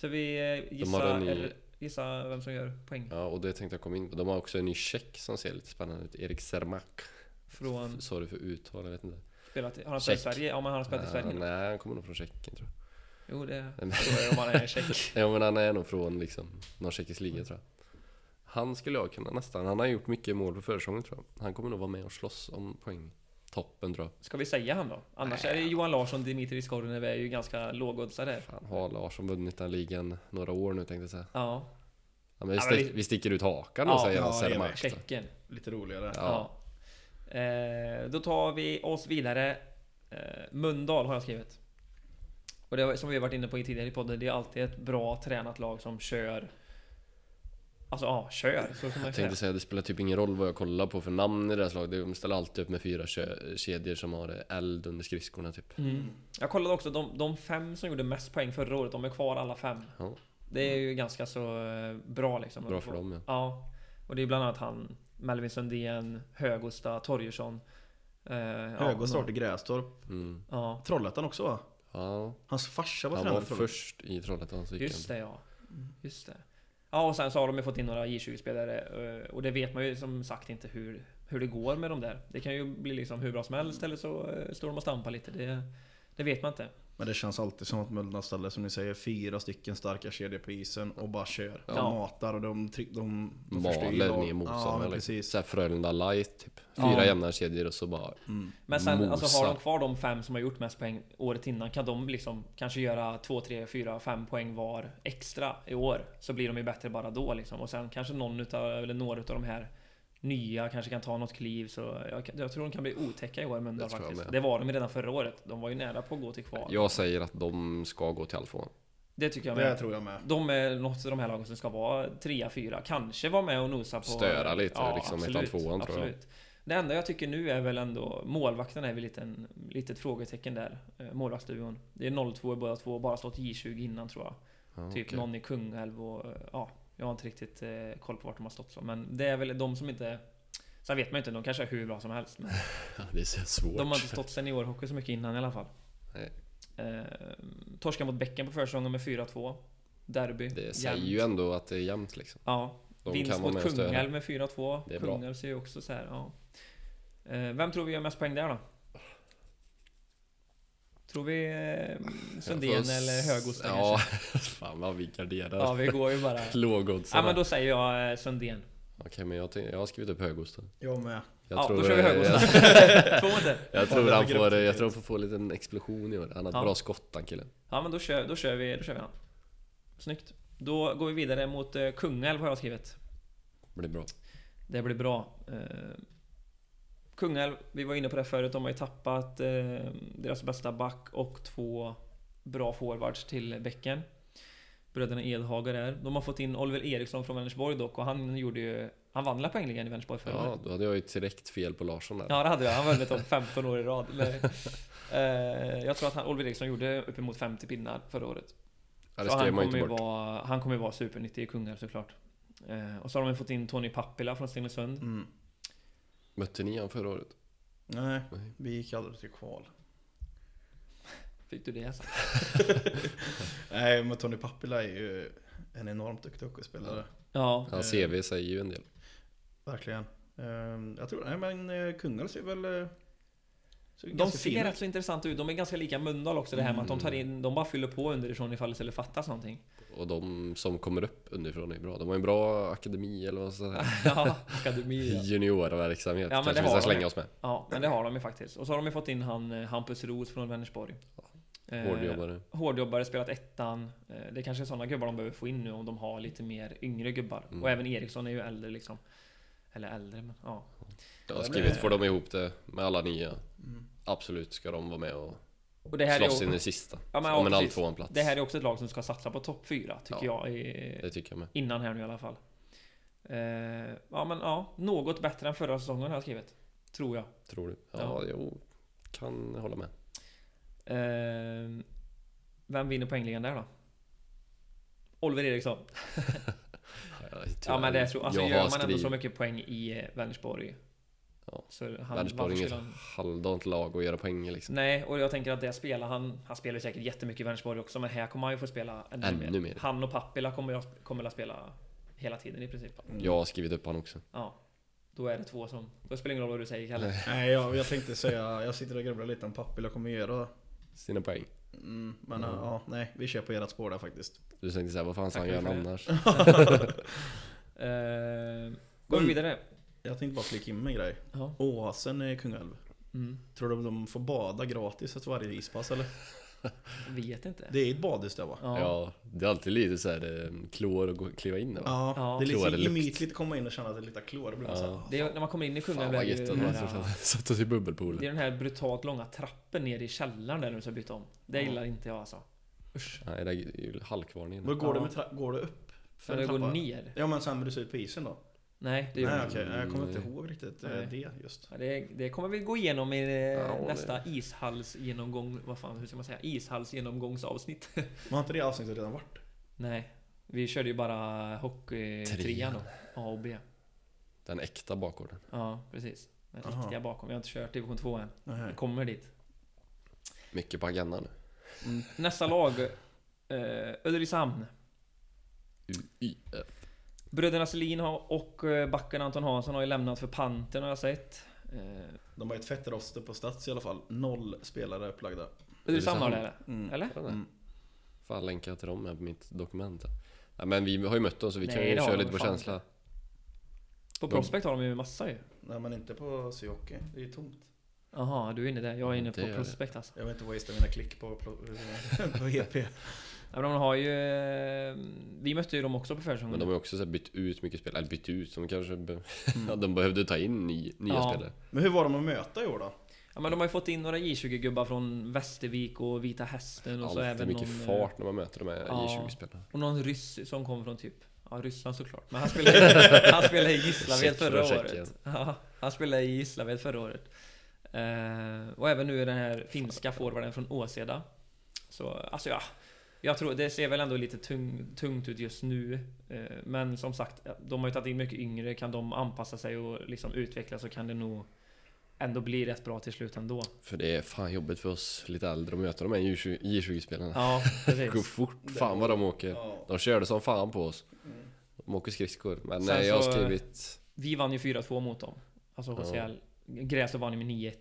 S3: Så vi eh,
S4: har
S3: gissa,
S4: en ny-
S3: eller, gissa vem som gör poäng.
S4: Ja, och det tänkte jag komma in på. De har också en ny check som ser lite spännande ut. Erik Sermak.
S3: Från,
S4: Sorry för uttal, jag vet inte.
S3: spelat, i- har han spelat i
S4: Tjeck.
S3: Sverige? Ja, men han har spelat i
S4: Ja,
S3: Sverige. nu.
S4: nej, han kommer nog från Tjeckien tror jag.
S3: Jo, det
S4: men-
S3: tror jag om han är en tjeck.
S4: [laughs] Ja, men han är nog från liksom någon tjeckisk liga tror jag. Han skulle jag kunna nästan. Han har gjort mycket mål på försäsongen tror jag. Han kommer nog vara med och slåss om poängtoppen tror jag.
S3: Ska vi säga han då? Annars är det Johan Larsson, Dimitri Skoronev är ju ganska lågoddsare.
S4: Fan, har Larsson vunnit den ligan några år nu tänkte jag säga.
S3: Ja,
S4: Ja, men vi,
S3: Ja,
S4: stick,
S3: men vi-
S4: vi sticker ut hakan och
S3: Ja,
S4: säger
S2: ja,
S4: ja,
S2: det gör vi.
S4: Sermak. då.
S3: Tjeckien.
S2: Lite roligare.
S3: Ja.
S4: Ja.
S3: Eh, då tar vi oss vidare. Eh, Mölndal har jag skrivit. Och det var, som vi har varit inne på i tidigare i podden, det är alltid ett bra tränat lag som kör. Alltså ja, kör. Så kan man
S4: Jag
S3: säga.
S4: tänkte säga det spelar typ ingen roll vad jag kollar på för namn i deras lag. De ställer alltid upp med fyra kö- kedjor som har eld under skridskorna typ.
S3: Mm. Jag kollade också, de, de fem som gjorde mest poäng förra året, de är kvar alla fem.
S4: Ja.
S3: Det är ju ganska så eh, bra liksom.
S4: Bra för dem ja.
S3: Ja, och det är bland annat han Melvin Sundén, Högosta, Torgersson. Eh, ja,
S2: Högås
S3: några-
S2: startade Grästorp.
S4: Mm.
S3: Ja,
S2: Trollhättan också va?
S4: ja.
S2: Hans farsa var
S4: Han var
S2: tränare för Trollhättan.
S4: först i Trollhättan så gick
S3: just
S4: han.
S3: det ja. Just det. Ja, och sen så har de ju fått in några J20-spelare eh, och det vet man ju som sagt inte hur, hur det går med de där. Det kan ju bli liksom hur bra som helst
S4: Mm.
S3: eller så eh, står de och stampar lite. Det, det vet man inte.
S2: Men det känns alltid som att Mölndal ställer, som ni säger, fyra stycken starka kedjor på isen och bara kör. De
S3: Ja.
S2: matar och de, tri- de, de förstör ju
S4: Maler
S2: lag.
S4: ner
S2: Ja,
S4: motståndarna.
S2: men
S4: liksom.
S2: precis.
S4: Såhär Frölunda light typ. Fyra
S3: Ja.
S4: jämna kedjor och så bara...
S2: Mm.
S3: Men sen
S4: Mosa.
S3: alltså, har de kvar de fem som har gjort mest poäng året innan kan de liksom kanske göra två, tre, fyra, fem poäng var extra i år. Så blir de ju bättre bara då liksom. Och sen kanske någon utav, eller några utav de här nya kanske kan ta något kliv. Så jag, jag tror de kan bli otäcka i år Mölndal
S4: Det tror jag
S3: faktiskt.
S4: med.
S3: Det var de ju redan förra året. De var ju nära på att gå till kvar.
S4: Jag säger att de ska gå till allsvenskan.
S3: Typ Det tycker jag
S2: Det
S3: med.
S2: tror jag med.
S3: De är något av de här lagen som ska vara trea, fyra, kanske vara med och nosa på...
S4: Störa lite, liksom ettan, tvåan, tror jag.
S3: absolut. Det enda jag tycker nu är väl ändå målvakten är väl lite en litet frågetecken där. eh, Målvaktsduon. Det är 0-2 i båda två, bara slått J20 innan tror jag.
S4: Ja,
S3: Typ
S4: okej.
S3: någon i Kungälv och eh, ja, jag har inte riktigt eh, koll på vart de har stått så. Men det är väl de som inte... Sen vet man ju inte, de kanske är hur bra som helst. Men
S4: Ja, [laughs] det är så svårt.
S3: de har inte stått seniorhockey så mycket innan i alla fall.
S4: Nej.
S3: Eh, torska mot Bäcken på försäsongen med 4-2. Derby.
S4: Det
S3: jämnt.
S4: säger ju ändå att det är jämnt liksom.
S3: Ja.
S4: De
S3: vinst
S4: kan vara
S3: mot
S4: med och störa.
S3: Kungälv med 4-2.
S4: Det är bra.
S3: Kungälv ser ju också så här, ja. Eh, Vem tror vi gör mest poäng där då? Tror vi eh, Sundén
S4: Jag får s-
S3: eller Högosten
S4: Ja,
S3: kanske?
S4: [laughs] fan vad vi garderar.
S3: Ja,
S4: [laughs]
S3: vi går ju bara...
S4: Lågoddsarna.
S3: Ja, men då säger jag eh, Sundén.
S4: Okej, men jag, tänk- jag har skrivit upp högosten.
S2: Jag med.
S4: Jag
S3: ja,
S4: tror, eh,
S3: då kör vi
S4: [laughs] jag,
S3: Högosten. [laughs] Två mot ett.
S4: jag, tror
S2: Ja,
S4: han
S2: det är
S4: får, eh,
S2: grymt.
S4: jag tror han får få en liten explosion i år. Han har ett
S3: Ja.
S4: bra skott den killen.
S3: Ja, men då kör, då kör vi, då kör vi han. Snyggt. Då går vi vidare mot eh, Kungälv har jag skrivit.
S4: Det blir bra.
S3: Det blir bra. Eh, Kungälv, vi var inne på det förut, de har ju tappat eh, deras bästa back och två bra forwards till bäcken. Bröderna Edhager där. De har fått in Oliver Eriksson från Vänersborg dock och han gjorde ju... Han vann väl poängligan i Vänersborg förra
S4: Ja,
S3: året?
S4: då hade jag ju direkt fel på Larsson där.
S3: Ja det hade jag, han vann vunnit om 15 år i rad. Nej. Eh, jag tror att han, Oliver Eriksson gjorde uppemot 50 pinnar förra året. Så
S4: Ja, det skrev
S3: han
S4: man ju
S3: kommer,
S4: inte
S3: ju
S4: bort.
S3: vara, han kommer ju vara supernyttig i Kungälv såklart. Eh, och så har de ju fått in Tony Pappila från Stenungsund.
S2: Mm.
S4: Mötte ni han förra året?
S2: Nej,
S4: Nej.
S2: vi gick aldrig till kval.
S3: Fick du det?
S2: Nej, men Tony Pappila är ju en enormt duktig hockeyspelare.
S3: Ja,
S4: Hans
S2: Eh.
S4: CV säger ju en del.
S2: Verkligen. Ehm, Jag tror, nej men eh, Kungälv ser väl... eh, Ser
S3: De
S2: ganska
S3: ser
S2: fina
S3: rätt så intressanta ut. De är ganska lika Mölndal också det här med att de tar
S4: Mm.
S3: in, de bara fyller på underifrån ifall det skulle fattas någonting.
S4: Och de som kommer upp underifrån är bra. De har en bra akademi eller vad ska jag säga.
S3: [laughs] Ja, akademi. ja.
S4: [laughs] Juniorverksamhet
S3: Ja, men det
S4: kanske
S3: har
S4: vi ska
S3: de
S4: slänga
S3: ju.
S4: oss med.
S3: Ja, men det har de ju faktiskt. Och så har de ju fått in han eh, Hampus Roos från Vänersborg. Eh,
S4: Hårdjobbare.
S3: Hårdjobbare, spelat ettan. Eh, Det är kanske är sådana gubbar de behöver få in nu om de har lite mer yngre gubbar.
S4: Mm.
S3: Och även Eriksson är ju äldre liksom. Eller äldre, men ja.
S4: Jag har
S2: Ja,
S4: skrivit,
S2: det-
S4: får de ihop det med alla nya?
S2: Mm.
S4: Absolut ska de vara med och
S3: Och det här
S4: slåss
S3: är
S4: in i
S3: ju,
S4: det sista.
S3: Ja, men ja,
S4: Om en
S3: precis.
S4: alltvåan plats.
S3: Det här är också ett lag som ska satsa på topp fyra, tycker
S4: Ja.
S3: jag. i-
S4: Det tycker jag med.
S3: Innan här nu i alla fall. Eh, ja men ja, något bättre än förra säsongen har jag skrivit. Tror jag.
S4: Tror du? Ja,
S3: Ja.
S4: jo. Kan hålla med.
S3: Eh, Vem vinner poängligan där då? Oliver Eriksson. Ja men det tror alltså,
S4: jag
S3: Gör
S4: har
S3: man ändå så
S4: skrivit
S3: mycket poäng i eh, Vänersborg.
S4: Ja.
S3: Så han, varför
S4: Vänersborg är
S3: skulle
S4: inget
S3: han...
S4: halvdant lag att göra poäng i liksom.
S3: Nej, och jag tänker att det spelar han. Han spelar ju säkert jättemycket i Vänersborg också, men här kommer han ju få spela ännu,
S4: Ännu mer.
S3: Han och Pappila kommer jag kommer att spela hela tiden i princip.
S4: Jag har skrivit upp han också.
S3: Ja. Då är det två som... Då spelar det ingen roll vad du säger Kalle.
S2: Nej, jag, jag tänkte säga, jag sitter och grubblar lite om Pappila kommer göra.
S4: Sina poäng.
S2: Mm, men eh, ja, nej, vi kör på ert spår där faktiskt.
S4: Du tänkte säga vad fan ska
S3: Tack
S4: han göra
S3: för det. [laughs]
S4: annars?
S3: Eh, går vi vidare?
S2: Jag tänkte bara flika in med en grej.
S3: Ja.
S2: Oasen i Kungälv.
S3: Mm.
S2: Tror du de får bada gratis efter varje ispass eller?
S3: Vet inte.
S2: Det är ett badhus där va?
S3: Ja.
S4: Ja, det är alltid lite så här eh, klor att gå- kliva in där va?
S2: Ja,
S3: Ja.
S2: det är lite
S4: Klorlukt.
S2: gemytligt att komma in och känna att det luktar klor. Då blir man
S4: Ja.
S2: så här,
S3: Det är, när man kommer in i
S4: Fan
S3: Kungälv är
S4: vad
S3: det
S4: gött
S3: ju
S4: att
S3: den
S4: man
S3: här-
S4: satt oss i bubbelpoolen.
S3: Det är den här brutalt långa trappen ner i källaren där nu som bytt om. Det gillar inte jag alltså.
S4: Nej, det är ju halkvarningen.
S2: Men går, det
S3: Ja.
S2: med tra- går det upp?
S3: För
S2: en
S3: det går
S2: trappa?
S3: ner.
S2: Ja men sen blir du ut på isen då?
S3: Nej, det gör
S2: Nej
S3: det
S2: okej, Nej, jag kommer inte
S4: Nej.
S2: ihåg riktigt eh,
S3: Nej.
S2: det just.
S3: ja, det, det kommer vi gå igenom i eh,
S4: det-
S3: nästa ishallsgenomgång. Vad fan, hur ska man säga? Ishallsgenomgångsavsnitt.
S2: Men har inte det avsnittet redan varit?
S3: [laughs] Nej, vi körde ju bara hockeytrean då. A och B.
S4: Den äkta bakgården.
S3: Ja, precis. Den
S2: Aha.
S3: riktiga bakom. Jag har inte kört division 2 än.
S2: Nej.
S3: Jag kommer dit.
S4: Mycket på agendan nu.
S3: Mm. Nästa lag. Eh, Ulricehamn.
S4: UIF.
S3: Bröderna Selin har- och eh, backen Anton Hansson har ju lämnat för Pantern har jag sett. Eh,
S2: De har ju ett fett roster på Stats i alla fall. Noll spelare upplagda.
S3: Ulricehamn har
S4: Ulricehamn.
S3: det eller?
S2: Mm.
S3: eller?
S4: Kolla där. Fan länka till dem här på mitt dokument. Nej, men vi har ju mött dem så vi kan
S3: Nej,
S4: ju
S3: det har
S4: köra
S3: de
S4: lite på
S3: fan
S4: känsla.
S3: På
S4: De-
S3: Prospect har de ju massa ju.
S2: Nej men inte på Seoki. Det är ju tomt.
S3: Jaha, du är inne där. Jag är inne på
S4: Det är det.
S3: Prospect alltså.
S2: Jag vill inte wastea mina klick på, på, [laughs] på E EP.
S3: Ja, men de har ju... eh, Vi mötte ju dem också på försäsongen.
S4: Men de har ju också så här bytt ut mycket spelare. Eller bytt ut, de kanske be- [laughs] ja, de behövde ta in ny, nya
S3: Mm. Ja.
S4: spelare.
S2: Men hur var de att möta i år då?
S3: Ja, men de har ju fått in några J20-gubbar från Västervik och Vita Hästen och så
S4: Alltid
S3: även någon...
S4: mycket
S3: eh,
S4: fart när man möter de här
S3: ja.
S4: J20-spelarna.
S3: Och någon ryss som kom från typ... Ja, Ryssland såklart. Men han spelade, han spelade i Gislaved
S4: Check
S3: förra
S4: från
S3: året.
S4: Tjeckien.
S3: Ja, han spelade i Gislaved förra året. Eh, och även nu är den här finska forwarden från Åseda. Så alltså ja, jag tror det ser väl ändå lite tung, tungt ut just nu. Eh, men som sagt, de har ju tagit in mycket yngre. Kan de anpassa sig och liksom utvecklas så kan det nog ändå bli rätt bra till slut ändå.
S4: För det är fan jobbigt för oss lite äldre att möta de här J20- J20-spelarna.
S3: Ja,
S4: [laughs] Det går
S3: precis.
S4: fort, fan vad de åker.
S2: Ja.
S4: De körde som fan på oss. De åker skridskor. Men
S3: Sen
S4: eh, jag har
S3: så-
S4: skrivit...
S3: Vi vann ju 4-2 mot dem. Alltså
S4: Ja.
S3: HCL. Grästorp vann ju med 9-1.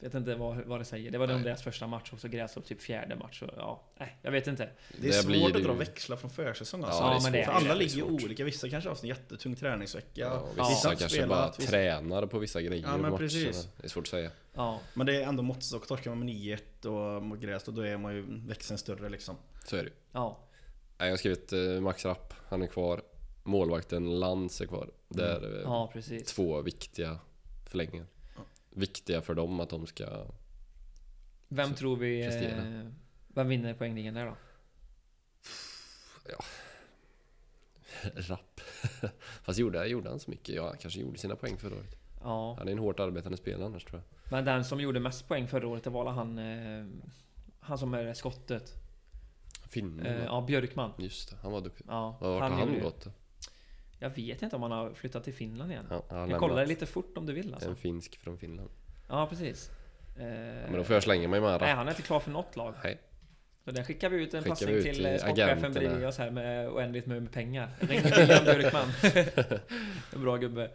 S3: Vet inte vad, vad det säger. Det var
S4: Nej.
S3: deras första match också. Grästorp typ fjärde match. Så, ja, nej, jag vet inte.
S2: Det är
S4: där blir
S2: svårt
S4: det
S2: att dra
S4: ju-
S2: växlar från försäsong
S4: Ja,
S2: alltså.
S3: Ja,
S4: det är
S3: men det
S4: svårt.
S3: är-
S2: För alla
S4: är
S2: ligger ju
S4: svårt.
S2: olika. Vissa kanske har en jättetung träningsvecka.
S4: Ja,
S2: har
S4: vissa
S2: inte
S4: kanske
S2: spelat,
S4: bara
S2: vissa-
S4: tränar på vissa grejer
S2: Ja, men
S4: i matcherna.
S2: precis.
S4: Det är svårt att säga.
S3: Ja,
S2: Men det är ändå måttstock. Torskar man med 9-1 och mot gräs och då är man ju växeln större liksom.
S4: Så är det ju.
S3: ja.
S4: Nej, Jag har skrivit eh, Max Rapp, han är kvar. Målvakten Lantz är kvar. Det är
S2: Mm.
S4: eh,
S3: ja precis.
S4: två viktiga förlängningar. Viktiga för dem att de ska... [laughs]
S3: Vem
S4: Så-
S3: tror vi... Eh,
S4: prestera.
S3: vem vinner poängligan där då?
S4: Rapp. [laughs] Fast gjorde, gjorde han så mycket? Ja, han kanske gjorde sina poäng förra året.
S3: Ja.
S4: Han är en hårt arbetande spelare annars tror jag.
S3: Men den som gjorde mest poäng förra året, det var alla han... Eh, han som är skottet.
S4: Finne.
S3: Eh,
S4: va?
S3: ja, Björkman.
S4: Just det, han var duktig.
S3: Ja,
S4: Mm. Vart har han
S3: gjorde-
S4: gått då?
S3: Jag vet inte om han har flyttat till Finland igen.
S4: Han, han
S3: Jag
S4: lämnat.
S3: kollar lite fort om du vill alltså.
S4: En finsk från Finland.
S3: Ja, precis. Eh,
S4: Ja, men då får jag slänga mig med
S3: Nej,
S4: Rapp.
S3: han är inte klar för något lag.
S4: Nej.
S3: Så där skickar vi ut en
S4: Skickar
S3: passning
S4: vi ut
S3: till
S4: till eh,
S3: eh, sportchefen
S4: agenterna.
S3: bredvid oss här med oändligt med med pengar. Ring William
S4: [laughs]
S3: Björkman. en bra gubbe. Eh,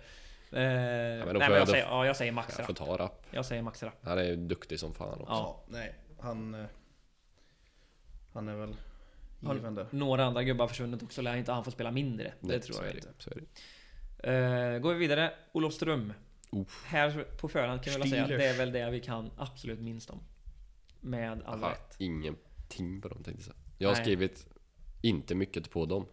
S3: nej,
S4: men
S3: men
S4: då får jag-
S3: jag,
S4: då-
S3: säger, ja, jag säger Max
S4: Jag får
S3: Rapp.
S4: ta Rapp.
S3: Jag säger Max Rapp.
S4: Han är ju duktig som fan också.
S3: Ja.
S2: nej. Han... eh, Han är väl
S3: Han-
S2: given där.
S3: Några andra gubbar har försvunnit också, lär inte han får spela mindre.
S4: Nej,
S3: det tror
S4: så
S3: jag
S4: är
S3: inte.
S4: Det. Så är det.
S3: Eh, går vi vidare. Olofström.
S4: Uff.
S3: Här på förhand kan vi väl säga att
S2: Steelers.
S3: det är väl det vi kan absolut minst om. Med all
S4: Aha,
S3: rätt.
S4: ingenting på dem tänkte jag säga. Jag har
S3: Nej.
S4: skrivit inte mycket
S3: [laughs]
S4: på dem.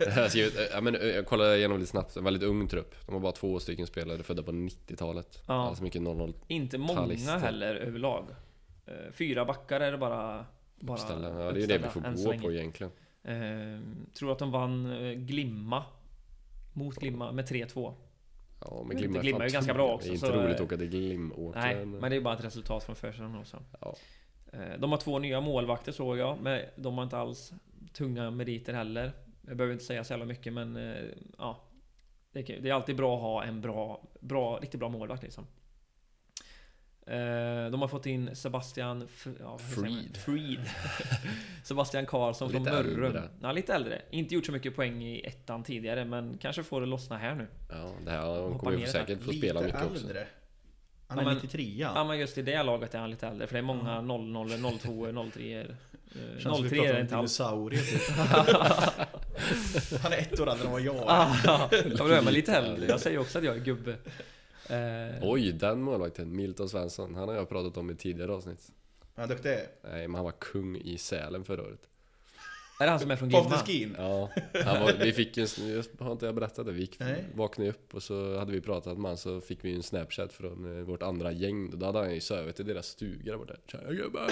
S4: jag, har skrivit, eh, ja, men, eh, jag kollade igenom lite snabbt, en väldigt ung trupp. De har bara två stycken spelare födda på 90-talet.
S3: Ja.
S4: Alltså mycket 00
S3: Inte många
S4: Talister.
S3: heller överlag. Eh, Fyra backar är det bara. bara
S4: ställen. Ja, det är ju det vi
S3: uppställda
S4: får
S3: än så
S4: gå
S3: länge.
S4: på egentligen.
S3: Ehm, tror att de vann eh, Glimma. Mot Glimma med 3-2.
S4: Ja, men
S3: Men
S4: Glimma,
S3: Glimma är ju
S4: fan
S3: ganska
S4: tunga.
S3: bra också,
S4: Det är inte
S3: så,
S4: roligt
S3: eh,
S4: att åka till Glimåkern.
S3: Nej, men det är bara ett resultat från försäsongen också.
S4: ja.
S3: Eh, De har två nya målvakter såg jag, men de har inte alls tunga meriter heller. Jag behöver inte säga så jävla mycket, men eh, ja. Det kan- det är alltid bra att ha en bra, bra riktigt bra målvakt liksom. Eh, De har fått in Sebastian... F- ja, hur säger man?
S4: Fried.
S3: Fried.
S2: [laughs]
S3: Sebastian Karlsson från
S4: Lite
S3: Mörrum.
S4: äldre.
S3: Ja, lite äldre. Inte gjort så mycket poäng i ettan tidigare, men kanske får det lossna här nu.
S4: Ja, det här
S3: Hoppa
S4: hon kommer ju
S3: ner
S4: få
S3: där.
S4: säkert få
S2: Lite
S4: spela mycket också.
S2: äldre. Han är
S3: Ja, men-
S2: 93
S3: Ja men just i det laget är han lite äldre för det är många 00, 02, 03
S2: Känns som
S3: 03
S2: vi pratar
S3: är det
S2: om
S3: inte alls.
S2: dinosaurier [laughs] typ. Han är ett år äldre än vad jag är.
S3: Ah, ja, men då är man lite äldre. Jag säger också att jag är gubbe. Eh,
S4: Oj, den målvakten. Milton Svensson. Han har jag pratat om i tidigare avsnitt.
S2: Han är duktig.
S4: Nej, men han var kung i Sälen förra året.
S3: är det han som är från Gimma?
S2: Povdeskin.
S4: Ja, han var, vi fick ju en, sn- jag har inte jag berättat det? Vi gick,
S2: Nej.
S4: vaknade ju upp och så hade vi pratat med honom så fick vi ju en snapchat från eh, vårt andra gäng. Då hade han ju sövit i deras stuga där borta. Tja
S3: [laughs]
S4: gubbar!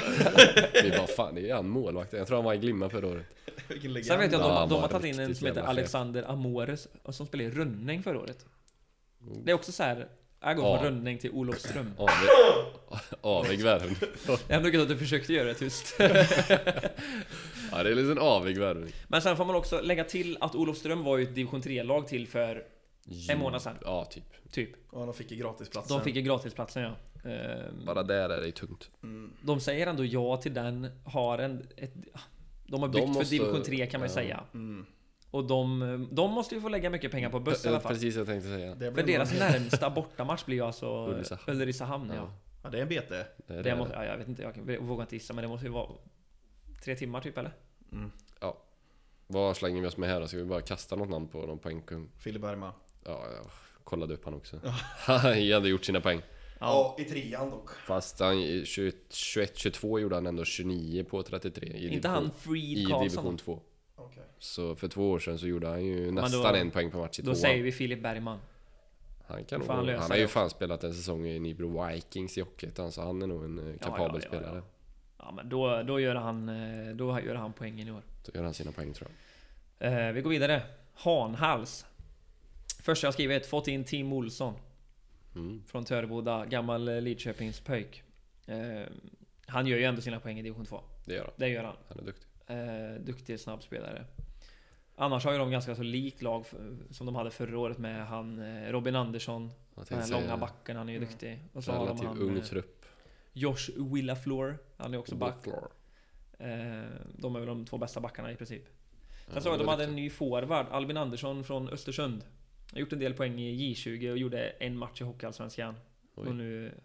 S4: Vi bara fan, det är ju han målvakten. Jag tror han var i Glimma förra året.
S2: Vilken legend.
S3: Sen vet jag
S4: Ja,
S3: att
S4: han
S3: de, de har
S4: var
S3: tagit in en
S4: riktigt
S3: som heter
S4: jävla chef.
S3: Alexander Amores och som spelade i Rönning förra året. Det är också så här. Jag går
S4: Mm. Ja.
S3: från Rönning till Olofström.
S4: Avig, avig värvning.
S3: Jag tycker att du försökte göra det tyst.
S4: Ja, det är en liten avig värvning.
S3: Men sen får man också lägga till att Olofström var ju ett division 3-lag till för En månad sedan.
S4: Ja, typ.
S3: typ.
S2: Och de fick ju gratisplatsen.
S3: De fick ju gratisplatsen ja. Ehm,
S4: Bara där är det ju tungt.
S2: Mm,
S3: De säger ändå ja till den, har en... Ett, de har byggt för
S4: måste-
S3: division 3 kan man ju
S4: ja.
S3: säga.
S2: Mm.
S3: Och de, de måste ju få lägga mycket pengar på buss i alla fall.
S4: Precis jag tänkte säga.
S2: Det,
S3: För
S2: blev
S3: deras
S2: någon-
S3: närmsta bortamatch blir ju alltså
S4: Ulricehamn.
S3: Ulricehamn. Ja.
S2: Ja, det är en BT.
S4: är
S3: Det
S4: det.
S3: måste, ja, jag vet inte, jag, kan, jag vågar inte gissa men det måste ju vara tre timmar typ eller?
S4: Vad slänger vi oss med här då? Ska vi bara kasta något namn på någon poängkung?
S2: Filip Bergman.
S4: Ja, jag kollade upp han också. [laughs] han hade gjort sina poäng.
S2: Ja. i trean dock.
S4: Fast han, 21-22 gjorde han ändå 29 på 33 i
S3: inte
S4: division,
S3: han
S4: i
S3: Fried
S4: division
S3: Karlsson?
S4: 2.
S2: Okej.
S4: Så för två år sedan så gjorde han ju
S3: då-
S4: nästan en poäng per match i
S3: Då säger
S4: tvåan.
S3: vi Filip Bergman.
S4: Han kan nog,
S3: får han lösa
S4: han har ju
S3: det.
S4: fan spelat en säsong i Nybro Vikings i Hockeyettan så han är nog en eh,
S3: Ja,
S4: kapabel
S3: ja, ja, ja.
S4: spelare.
S3: Ja men då, då, gör han, eh, då gör han poängen i år.
S4: Då gör han sina poäng tror jag.
S3: Eh, vi går vidare. Hanhals. Första jag skrivit, fått in Tim Olsson.
S4: Mm.
S3: Från Töreboda, gammal eh, Lidköpingspöjk. Eh, han gör ju ändå sina poäng i division 2.
S4: Det gör han.
S3: Det gör han.
S4: Han är duktig.
S3: Eh, duktig snabbspelare. Annars har ju de ganska så likt lag f- som de hade förra året med han eh, Robin Andersson.
S4: Jag
S3: Den
S4: tänkte
S3: här
S4: säga,
S3: långa backen, han är ju duktig. Och så har de
S4: Mm. Relativt
S3: han,
S4: ung
S3: eh,
S4: trupp.
S3: Josh Willaflor. Han är också back.
S4: Floor.
S3: Eh, de är väl de två bästa backarna i princip. Sen
S4: Ja,
S3: såg jag att
S4: det
S3: de
S4: var
S3: hade en
S4: riktigt.
S3: ny forward, Albin Andersson från Östersund. Har gjort en del poäng i J20 och gjorde en match i Hockeyallsvenskan.
S4: Oj.
S3: Och nu...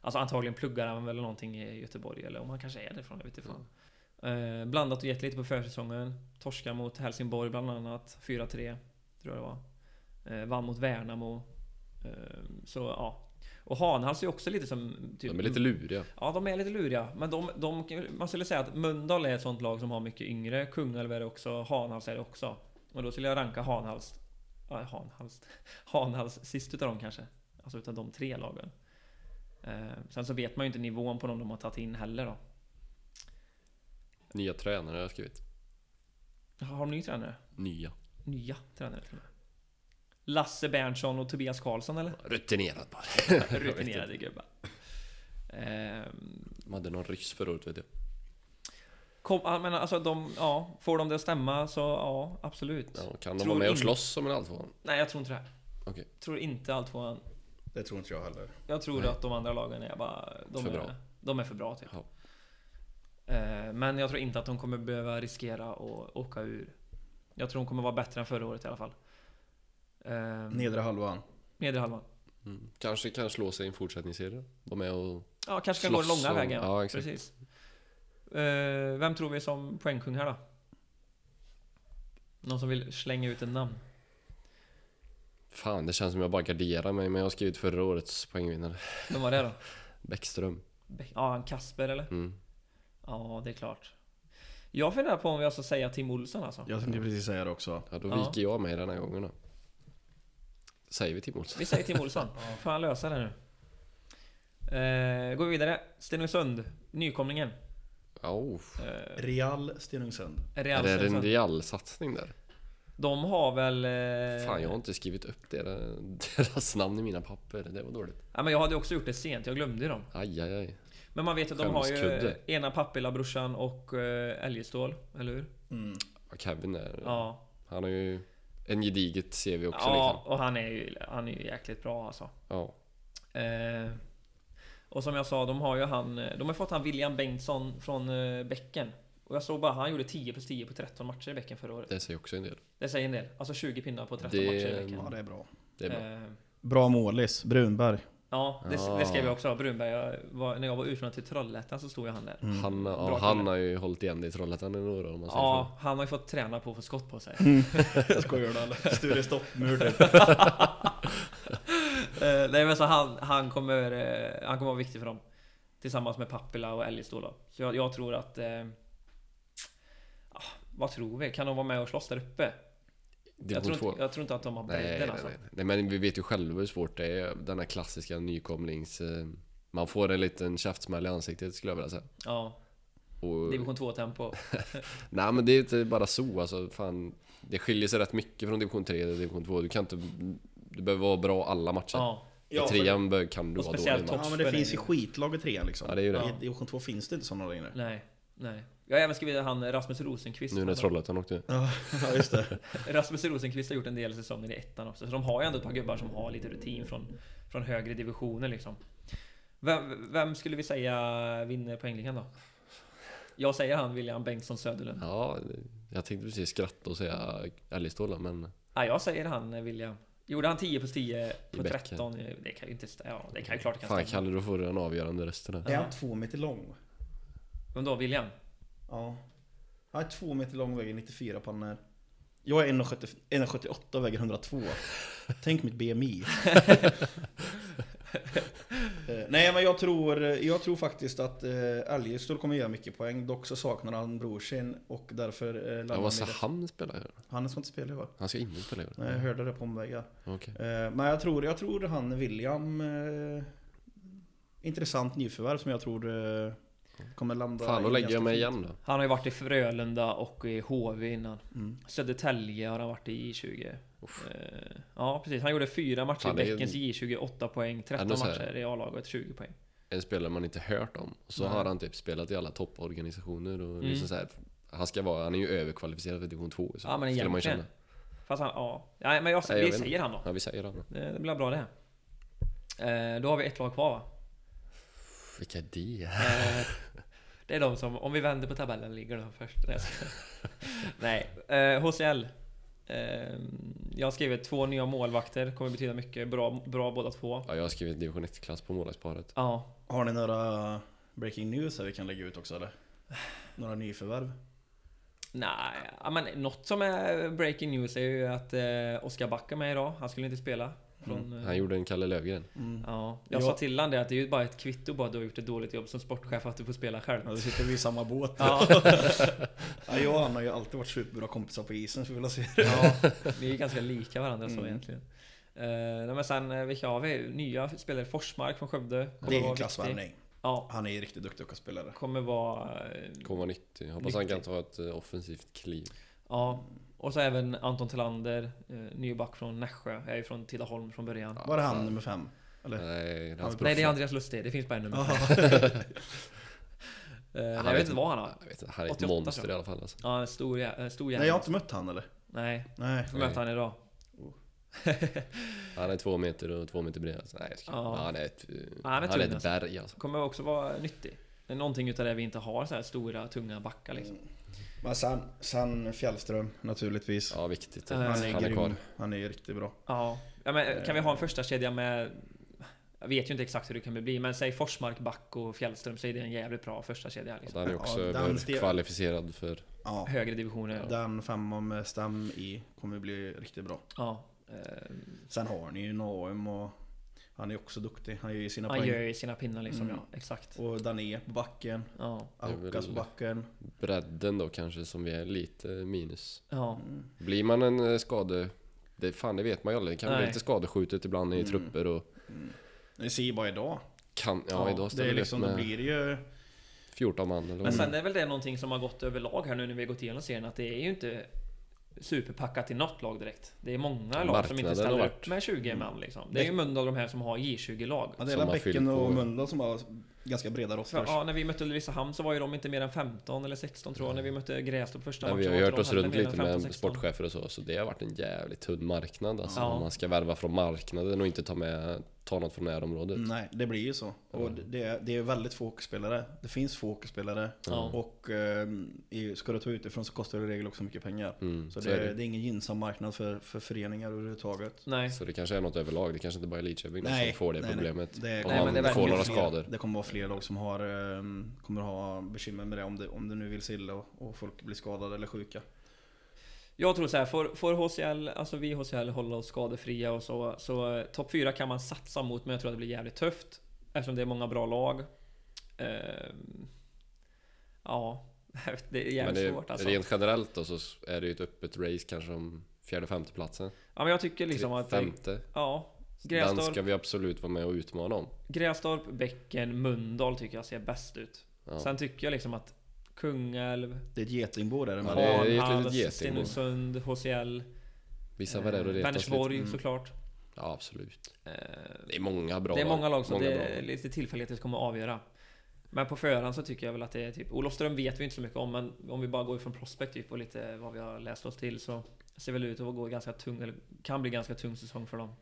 S3: Alltså antagligen pluggar han väl någonting i Göteborg, eller om han kanske är därifrån, jag vet inte fan. Eh, blandat och gett lite på försäsongen. Torska mot Helsingborg bland annat, 4-3. Tror jag det var. Eh, vann mot Värnamo. Eh, så ja. Och Hanhals är också lite som... typ
S4: De är lite luriga.
S3: Ja, de är lite luriga. Men de, de, man skulle säga att Mölndal är ett sånt lag som har mycket yngre. Kungälv är det också. Hanhals är det också. Och då skulle jag ranka Hanhals... Ja, Hanhals. [laughs] Hanhals sist utav dem kanske. Alltså utav de tre lagen. Eh, sen så vet man ju inte nivån på dem de har tagit in heller då.
S4: Nya tränare har jag skrivit.
S3: Har de ny tränare?
S4: Nya.
S3: Nya tränare till och med. Lasse Berntsson och Tobias Karlsson eller?
S4: Rutinerad bara.
S3: Rutinerade gubbar. Ehm,
S4: De hade någon ryss förra året vet jag.
S3: Kom, jag menar, alltså de, ja, får de det att stämma så ja, absolut.
S4: Ja, kan de
S3: Tror
S4: vara med och
S3: in-
S4: slåss om en alltvåan?
S3: Nej, jag tror inte det.
S4: Okej.
S3: Tror inte allt vad han...
S2: Det tror inte jag heller.
S3: Jag tror
S4: Nej.
S3: att de andra lagen är bara... De
S4: För
S3: är,
S4: bra.
S3: De är för bra typ.
S4: Ja.
S3: Eh, Men jag tror inte att de kommer behöva riskera att åka ur. Jag tror de kommer vara bättre än förra året i alla fall. Eh,
S2: Nedre halvan.
S3: Nedre halvan.
S4: Mm. Kanske kan slå sig i en fortsättningsserie. Vara med och...
S3: Ja, kanske kan gå den
S4: Slåss
S3: långa
S4: om-
S3: vägen.
S4: ja, exakt.
S3: Precis. Eh, Vem tror vi som poängkung här då? Någon som vill slänga ut en namn?
S4: Fan, det känns som jag bara garderar mig. Men jag har skrivit förra årets poängvinnare.
S3: Vem var det då?
S4: Bäckström.
S3: Bäck- Ja, han Kasper eller?
S4: Mm.
S3: Ja, det är klart. Jag funderar på om vi alltså säga Tim Olsson alltså.
S2: Jag tänkte precis säga det också.
S4: Ja, då
S3: Ja.
S4: viker jag mig den här gången då. Säger vi till Olsson.
S3: Vi säger Tim Olsson. Får han lösa det nu. Eh, går vi vidare. Stenungsund. Nykomlingen.
S4: Ja, oh.
S3: Eh,
S2: Real Stenungsund.
S3: Real
S4: Är det en
S3: Stenungsund.
S4: real satsning där?
S3: De har väl... Eh,
S4: Fan, jag har inte skrivit upp deras, [laughs] deras namn i mina papper. Det var dåligt.
S3: ja, men jag hade också gjort det sent. Jag glömde ju dem.
S4: Aj, aj, aj.
S3: Men man vet att de har ju
S4: Skämskudde.
S3: ena pappilla brorsan och eh, Eljestål, eller hur?
S2: Mm.
S4: Ja, Kevin är...
S3: Ja.
S4: Han har ju en gediget CV också
S3: Ja,
S4: liksom.
S3: och han är ju, han är ju jäkligt bra alltså.
S4: Ja.
S3: Eh, och som jag sa, de har ju han, eh, de har fått han William Bengtsson från eh, Bäcken. Och jag såg bara, han gjorde 10 plus 10 på 13 matcher i Bäcken förra året.
S4: Det säger också en del.
S3: Det säger en del. Alltså 20 pinnar på 13
S4: Det-
S3: matcher i Bäcken.
S2: Ja, det är bra.
S4: Det är bra.
S3: Eh,
S2: Bra målis, Brunberg. [laughs]
S3: ja, det,
S4: Ja.
S3: det skrev jag också. Brunberg, jag var, när jag var utlånad till Trollhättan så stod ju han där.
S4: Han, ja,
S3: Bra
S4: han
S3: kille.
S4: har ju hållit igen det i Trollhättan i några år om man Mm, säger Mm.
S3: Ja, han har ju fått träna på att få skott på sig.
S2: Skojar du eller? Sturestoppmur [laughs] typ.
S3: Eh, nej men så han, han kommer eh, Han kommer vara viktig för dem Tillsammans med Pappila och Eljestål då. Så jag, jag tror att eh, ah, Vad tror vi? Kan de vara med och slåss där uppe?
S4: så.
S3: Jag
S4: Division
S3: tror,
S4: två.
S3: inte, jag tror inte att de har
S4: Nej,
S3: bredden
S4: nej,
S3: alltså
S4: nej. nej, men vi vet ju själva hur svårt det är. Den här klassiska nykomlings... eh, Man får en liten käftsmäll i ansiktet skulle jag vilja säga.
S3: Ja,
S4: Och,
S3: division 2
S4: [laughs]
S3: tempo
S4: nej men det är inte bara så alltså. Fan, det skiljer sig rätt mycket från division 3 till division 2. Du kan inte... Du behöver vara bra alla matcher.
S3: Ja,
S4: I
S2: Ja, för-
S4: trean bör- kan du
S3: och
S4: vara dålig.
S3: speciellt
S4: i match.
S2: Ja men det finns ju skitlag i trean liksom.
S4: Ja, det är ju det.
S2: I division 2 finns det inte sådana längre.
S3: nej, nej Jag har även skrivit han Rasmus Rosenqvist
S4: Nu när Trollhättan åkte
S2: Ja, just det.
S3: Rasmus Rosenqvist har gjort en del säsonger i ettan också Så de har ju ändå ett par gubbar som har lite rutin från, från högre divisioner liksom vem, vem skulle vi säga vinner poängligan då? Jag säger han William Bengtsson Söderlund
S4: Ja, jag tänkte precis skratta och säga älgstålar men
S3: Ja, jag säger han William. Gjorde han 10 plus 10 på
S4: bäcken.
S3: 13? Det kan ju inte stä- Ja, det kan ju klart det kan
S4: fan
S3: stämma.
S4: Kalle då får du den avgörande rösten här.
S2: Är han två meter lång?
S3: Men då, William?
S2: Ja. Han är två meter lång och väger 94 pannor. Jag är 1,70 1,78 och väger 102. Tänk mitt
S4: [laughs]
S2: BMI. Eh, Nej men jag tror, eh, jag tror faktiskt att eh, Algestol kommer göra mycket poäng. Dock så saknar han brorsin och därför eh, landar
S4: Ja,
S2: han
S4: vad
S2: i
S4: sa
S2: det.
S4: han spela här?
S2: Han ska inte spela i år.
S4: Han ska inte spela i år.
S2: Nej, Jag hörde det på omvägar.
S4: Okej.
S2: Eh, Men jag tror, jag tror han William eh, Intressant nyförvärv som jag tror eh, kommer landa
S4: Fan, då
S2: i
S4: lägger jag
S2: ganska
S4: mig
S2: fint.
S4: igen då.
S3: Han har ju varit i Frölunda och i HV innan.
S2: Mm.
S3: Södertälje har han varit i J20. Eh, Ja, precis. Han gjorde fyra matcher i
S4: Han är ju-
S3: Bäckens J20, 8 poäng. 13
S4: Ändå så här.
S3: matcher i A-laget, 20 poäng.
S4: En spelare man inte hört om. Och så har han typ spelat i alla topporganisationer och
S3: Mm.
S4: liksom så här, han, ska vara, han är ju överkvalificerad för division 2. Så
S3: Ja, men
S4: skulle man ju
S3: egentligen.
S4: känna.
S3: Fast han, ja. Nej, men jag,
S4: Nej, jag
S3: vi
S4: vet
S3: säger han då.
S4: Ja, vi säger han.
S3: Det blir bra det. här. Eh, Då har vi ett lag kvar va?
S4: Pff, Vilka är det?
S3: Eh, Det är de som, om vi vänder på tabellen ligger de först. Nej, jag
S4: [laughs]
S3: skojar. Nej, eh, HCL. Eh, jag har skrivit två nya målvakter, kommer betyda mycket. Bra, bra båda två.
S4: Ja, jag har skrivit division 1-klass på målvaktsparet.
S3: Ja,
S2: Har ni några breaking news här vi kan lägga ut också eller? Några nyförvärv?
S3: nej, ja, men något som är breaking news är ju att eh, Oskar Back är med idag. Han skulle inte spela. Från, eh,
S4: Mm. Han gjorde en Kalle Löfgren.
S2: Mm.
S3: ja, jag
S2: Ja.
S3: sa till honom det att det är ju bara ett kvitto på att du har gjort ett dåligt jobb som sportchef att du får spela
S2: Ja,
S3: själv.
S2: då sitter vi i samma båt.
S3: Ja,
S2: Ja, jag och han har ju alltid varit superbra kompisar på isen så vi vill se.
S3: [laughs] ja, vi är ju ganska lika varandra så
S2: Mm.
S3: egentligen. Eh, nej, men sen, eh, vilka har vi? Nya spelare, Forsmark från Skövde. Kommer
S2: Det är
S3: vara
S2: ju
S3: viktig.
S2: klassvärvning.
S3: Ja,
S2: Han är ju riktigt duktig och spelare.
S3: kommer vara... eh,
S4: Kommer vara nyttig. Hoppas han kan ta ett eh, offensivt kliv.
S3: Mm. Ja. Och så även Anton Tillander, eh, ny back från Nässjö. Jag är ju från Tidaholm från början.
S2: Var är han nummer fem? Eller?
S4: Nej, hans
S3: Nej,
S4: brorsa.
S3: det är Andreas Lustig. Det finns bara en nummer.
S2: Ja. [laughs]
S3: Eh, nej, jag vet inte vad han har.
S4: Jag vet inte, han är ett
S3: 88, tror jag.
S4: monster i alla fall alltså.
S3: Ja, han är en stor, jä- en stor jävel.
S2: Nej jag har inte mött han eller?
S3: Nej,
S2: Nej. Oh.
S3: får
S4: Nej.
S3: möta han idag. [laughs]
S4: Han är två meter och två meter bred. Alltså, nej, jag ska,
S3: Ja.
S4: Han är ett,
S3: han är
S4: han
S3: tung,
S4: är ett
S3: alltså.
S4: berg alltså.
S3: Kommer också vara nyttig. Det är Någonting utav det vi inte har, så här stora, tunga backar liksom.
S2: Men sen, sen Fjällström naturligtvis.
S4: Ja, viktigt.
S3: Han
S4: han
S2: Han är,
S4: är,
S2: grym.
S4: kvar.
S2: Han är ju riktigt bra.
S3: Ja. ja men, kan vi ha en första kedja med... Jag vet ju inte exakt hur det kan bli, men säg Forsmark, Back och Fjällström så är det en jävligt bra första kedja. Liksom.
S4: Han är också
S2: Ja, den
S4: över-
S2: steg-
S4: kvalificerad för...
S2: Ja.
S3: Högre divisioner. Ja.
S2: Den femman med Stam i kommer bli riktigt bra.
S3: Eh,
S2: Sen har ni ju Naum och han är också duktig. Han gör ju sina
S3: Han
S2: poäng.
S3: gör ju sina pinnar liksom,
S2: Mm.
S3: ja. Exakt.
S2: Och Dané på backen.
S3: Ja.
S4: är väl-
S2: Aukas på backen.
S4: Bredden då kanske som vi är lite minus.
S3: Ja.
S4: Blir man en eh, skade... Det, fan det vet man ju aldrig. Det kan bli
S3: Nej.
S4: lite skadeskjutet ibland i
S2: Mm.
S4: trupper och...
S2: Det ser ju bara idag.
S4: Kan, ja,
S3: Ja,
S4: idag
S2: Det är
S4: ställer vi upp
S2: liksom, då
S4: med
S2: blir det ju...
S4: 14 man eller
S3: Men
S4: vad
S3: sen är väl det någonting som har gått överlag här nu när vi har gått igenom serien att det är ju inte superpackat till något lag direkt. Det är många lag som
S4: Marknaden
S3: inte
S4: har
S3: ställer
S4: varit-
S3: upp med 20 man liksom. Det är ju Mölndal de här som har J20-lag.
S2: Ja, det är
S4: Som
S2: hela
S4: har
S2: Bäcken
S4: fyllt på.
S2: och Mölndal som har ganska breda
S3: För,
S2: rosters.
S3: ja, när vi mötte Ulricehamn så var ju de inte mer än 15 eller 16 tror jag. När vi mötte Grästorp första
S4: Nej, vi har
S3: var inte
S4: ju hört
S3: de
S4: oss
S3: heller
S4: runt
S3: mer än
S4: lite med
S3: 15-16.
S4: sportchefer och så, så det har varit en jävligt tunn marknad alltså.
S3: Ja.
S4: Om man ska värva från marknaden och inte ta med ta något från närområdet.
S3: Mm.
S2: Nej, det blir ju så. Och
S4: Mm.
S2: det- det, är- det är väldigt få hockeyspelare. Det finns få hockeyspelare.
S3: Ja.
S2: Och eh, i- ska du ta utifrån så kostar det i regel också mycket pengar.
S4: Mm,
S2: Så
S4: så
S2: det,
S4: är
S2: det är ingen gynnsam marknad för, för föreningar överhuvudtaget.
S3: Nej.
S4: Så det kanske är något överlag, det kanske inte bara är Lidköping då som får det
S2: nej, nej.
S4: problemet.
S2: Det,
S4: Om
S3: Nej, men
S4: man
S3: det är
S4: får några
S2: fler-
S4: skador.
S2: Det kommer vara fler lag som har, eh, kommer ha bekymmer med det om det, om det nu vill sig illa och, och folk blir skadade eller sjuka.
S3: Jag tror så här, får, får HCL, alltså vi i HCL hålla oss skadefria och så, så eh, topp 4 kan man satsa mot, men jag tror att det blir jävligt tufft. Eftersom det är många bra lag. Ehm, ja, jag vet, det är
S4: Men
S3: jävligt
S4: det,
S3: svårt alltså.
S4: rent generellt då så är det ju ett öppet race kanske om fjärde femte platsen.
S3: Ja, men jag tycker liksom att...
S4: femte.
S3: Ja.
S4: Den
S3: Grästorp,
S4: ska vi absolut vara med och utmana om.
S3: Grästorp, Bäcken, Mundal tycker jag ser bäst ut.
S4: Ja.
S3: Sen tycker jag liksom att Kungälv,
S2: Det är ett getingbo där
S4: Ja,
S2: emellan.
S4: det är- ett litet
S3: Hanhals,
S4: getingbo.
S3: Stenungsund, HCL,
S4: Vissa
S3: eh,
S4: var där och retas lite.
S3: Vänersborg såklart.
S4: Ja, absolut.
S3: Eh,
S4: Mm. Det är många bra
S3: det är
S4: lag.
S3: många lag som det
S4: bra
S3: är lite tillfälligheter som kommer att avgöra. Men på förhand så tycker jag väl att det är typ Olofström vet vi inte så mycket om, men om vi bara går ifrån prospect typ och lite vad vi har läst oss till så ser väl ut att gå ganska tung, eller kan bli ganska tung säsong för dem.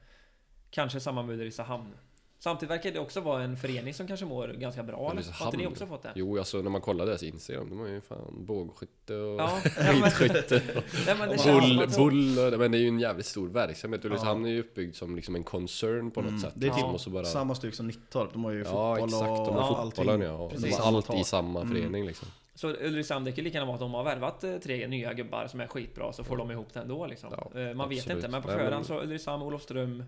S3: Kanske samma med Ulricehamn. Samtidigt verkar det också vara en förening som kanske mår ganska bra. Eller? Har inte ni
S4: Ulricehamn?
S3: också fått det?
S4: Jo, alltså när man kollar deras Instagram, de har ju fan bågskytte och [laughs]
S3: Ja,
S4: skidskytte och
S3: Nej, men det känns som
S4: bull,
S3: att-
S4: bull och, Men det är ju en jävligt stor verksamhet. Ulricehamn är ju uppbyggd som liksom en koncern på något sätt.
S2: Det är
S4: liksom,
S2: typ
S4: och så bara,
S2: Samma stycke som Nittorp, de har ju
S4: Ja,
S2: fotboll
S4: exakt.
S2: och
S4: De har fotbollen ja. Och de
S2: Precis.
S4: har
S2: Samma Mm.
S4: allt i
S2: tak.
S4: samma förening liksom.
S3: Så Ulricehamn, det kan lika gärna vara att de har värvat eh, tre nya gubbar som är skitbra, så får de ihop det ändå liksom.
S4: Mm. Ja,
S3: Eh, Man vet
S4: absolut.
S3: inte, men på
S4: Nej, men-
S3: förhand så Ulricehamn, Olofström,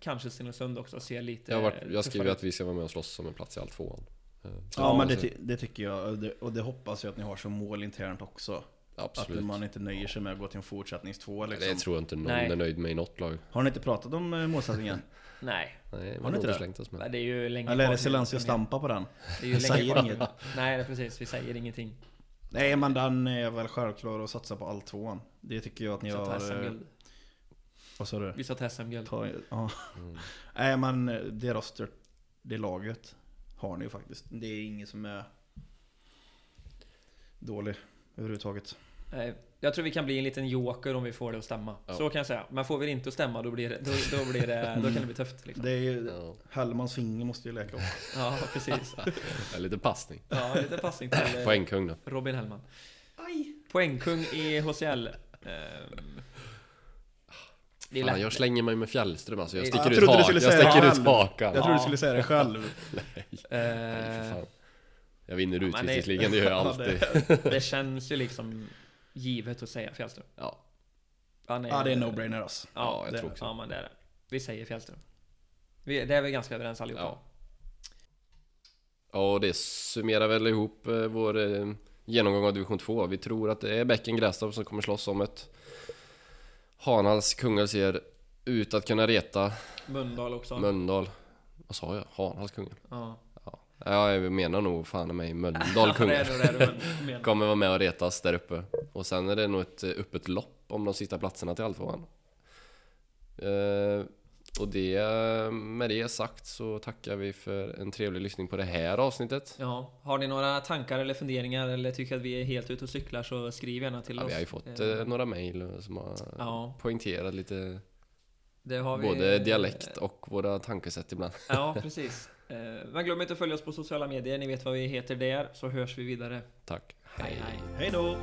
S3: kanske Stenungsund också, ser lite...
S4: Jag, har varit,
S3: eh,
S4: jag skriver
S3: tuffare ut.
S4: att vi ska vara med och slåss om en plats i allt tvåan. Eh,
S2: Ja men det, typ-
S4: så-
S2: ty- det tycker jag och det, och det hoppas jag att ni har som mål internt också
S4: Absolut.
S2: Att man inte nöjer sig med att gå till en fortsättningstvåa liksom.
S4: Det tror jag inte någon
S3: Nej.
S4: är nöjd med i något lag.
S2: Har ni inte pratat om eh,
S4: [laughs]
S2: målsättningen?
S3: Nej,
S4: Nej,
S2: ni
S4: man har
S2: inte
S4: inte
S2: det?
S4: slängt oss med.
S3: men det är ju länge
S2: Eller är
S3: kvar
S2: det
S3: till
S2: Silencio
S3: säsongen.
S2: stampa på den?
S3: Det är ju länge
S2: Säger
S3: kvar.
S2: inget.
S3: [laughs] Nej, det är precis. Vi säger ingenting.
S2: Nej men den är väl självklar att satsa på all tvåan Det tycker jag att ni
S3: Vi ska ta
S2: har... eh,
S3: SM-guld.
S2: Vad sa du?
S3: Vi ska ta SM-guld.
S2: Ta, ja. [laughs] Nej men eh, det roster, det laget har ni ju faktiskt Det är ingen som är dålig överhuvudtaget
S3: Nej, Jag tror vi kan bli en liten joker om vi får det att stämma.
S4: Ja.
S3: Så kan jag säga. Men får vi det inte att stämma, då, blir det, då, då, blir det, då kan det bli tufft. Liksom.
S2: Det är ju...
S4: Ja.
S2: Hellmans finger måste ju läka upp
S3: Ja, precis.
S4: Ja, Lite passning.
S3: Ja, lite passning
S4: [clears throat]
S3: till... eh,
S4: Poängkung då.
S3: Robin Hellman. Poängkung i HCL. Ehm, det är
S4: Fan,
S3: lätt.
S4: jag slänger mig med Fjällström alltså. Jag
S3: Jag
S4: sticker
S2: trodde
S4: ut
S2: du
S4: hakan.
S2: skulle
S4: Jag
S2: säga
S4: sticker ut
S2: halv.
S4: hakan.
S2: Jag tror du skulle säga det själv
S4: Nej, för
S3: Ehm,
S4: fan. Jag vinner
S3: men det-
S4: utvisningsligan, det gör jag
S2: [laughs] Ja, det-
S4: alltid.
S3: det känns ju liksom givet att säga Fjällström.
S4: Ja,
S3: Han
S2: Ja det är no-brainer alltså.
S4: ja
S2: det-
S4: jag tror också.
S3: Ja, men det är det. Vi säger Fjällström. Vi, det är vi ganska överens allihopa.
S4: Ja. Ja, och det summerar väl ihop eh, vår eh, genomgång av division 2. Vi tror att det är Bäcken Grästorp som kommer slåss om ett Hanhals Kungälv ser ut att kunna reta
S3: Mölndal också.
S4: Mölndal. Vad sa jag? Hanhals Kungälv?
S3: ja.
S4: Ja, jag menar nog fan mig Mölndal
S3: det är
S4: Kungälv.
S3: nog det
S4: [laughs]
S3: du menar.
S4: Kommer vara med och retas där uppe. Och sen är det nog ett eh, öppet lopp om de sista platserna till alltvåan. Eh, och det, med det sagt så tackar vi för en trevlig lyssning på det här avsnittet.
S3: Ja, har ni några tankar eller funderingar eller tycker att vi är helt ute och cyklar så skriv gärna till
S4: Ja,
S3: oss.
S4: vi har ju fått
S3: Eh,
S4: eh, några mejl som har
S3: Ja,
S4: poängterat lite
S3: det har vi. eh,
S4: både dialekt och våra tankesätt ibland.
S3: Ja, precis. Eh, Men glöm inte att följa oss på sociala medier. Ni vet vad vi heter där, så hörs vi vidare.
S4: Tack.
S3: Hej, hej.
S2: Hej då!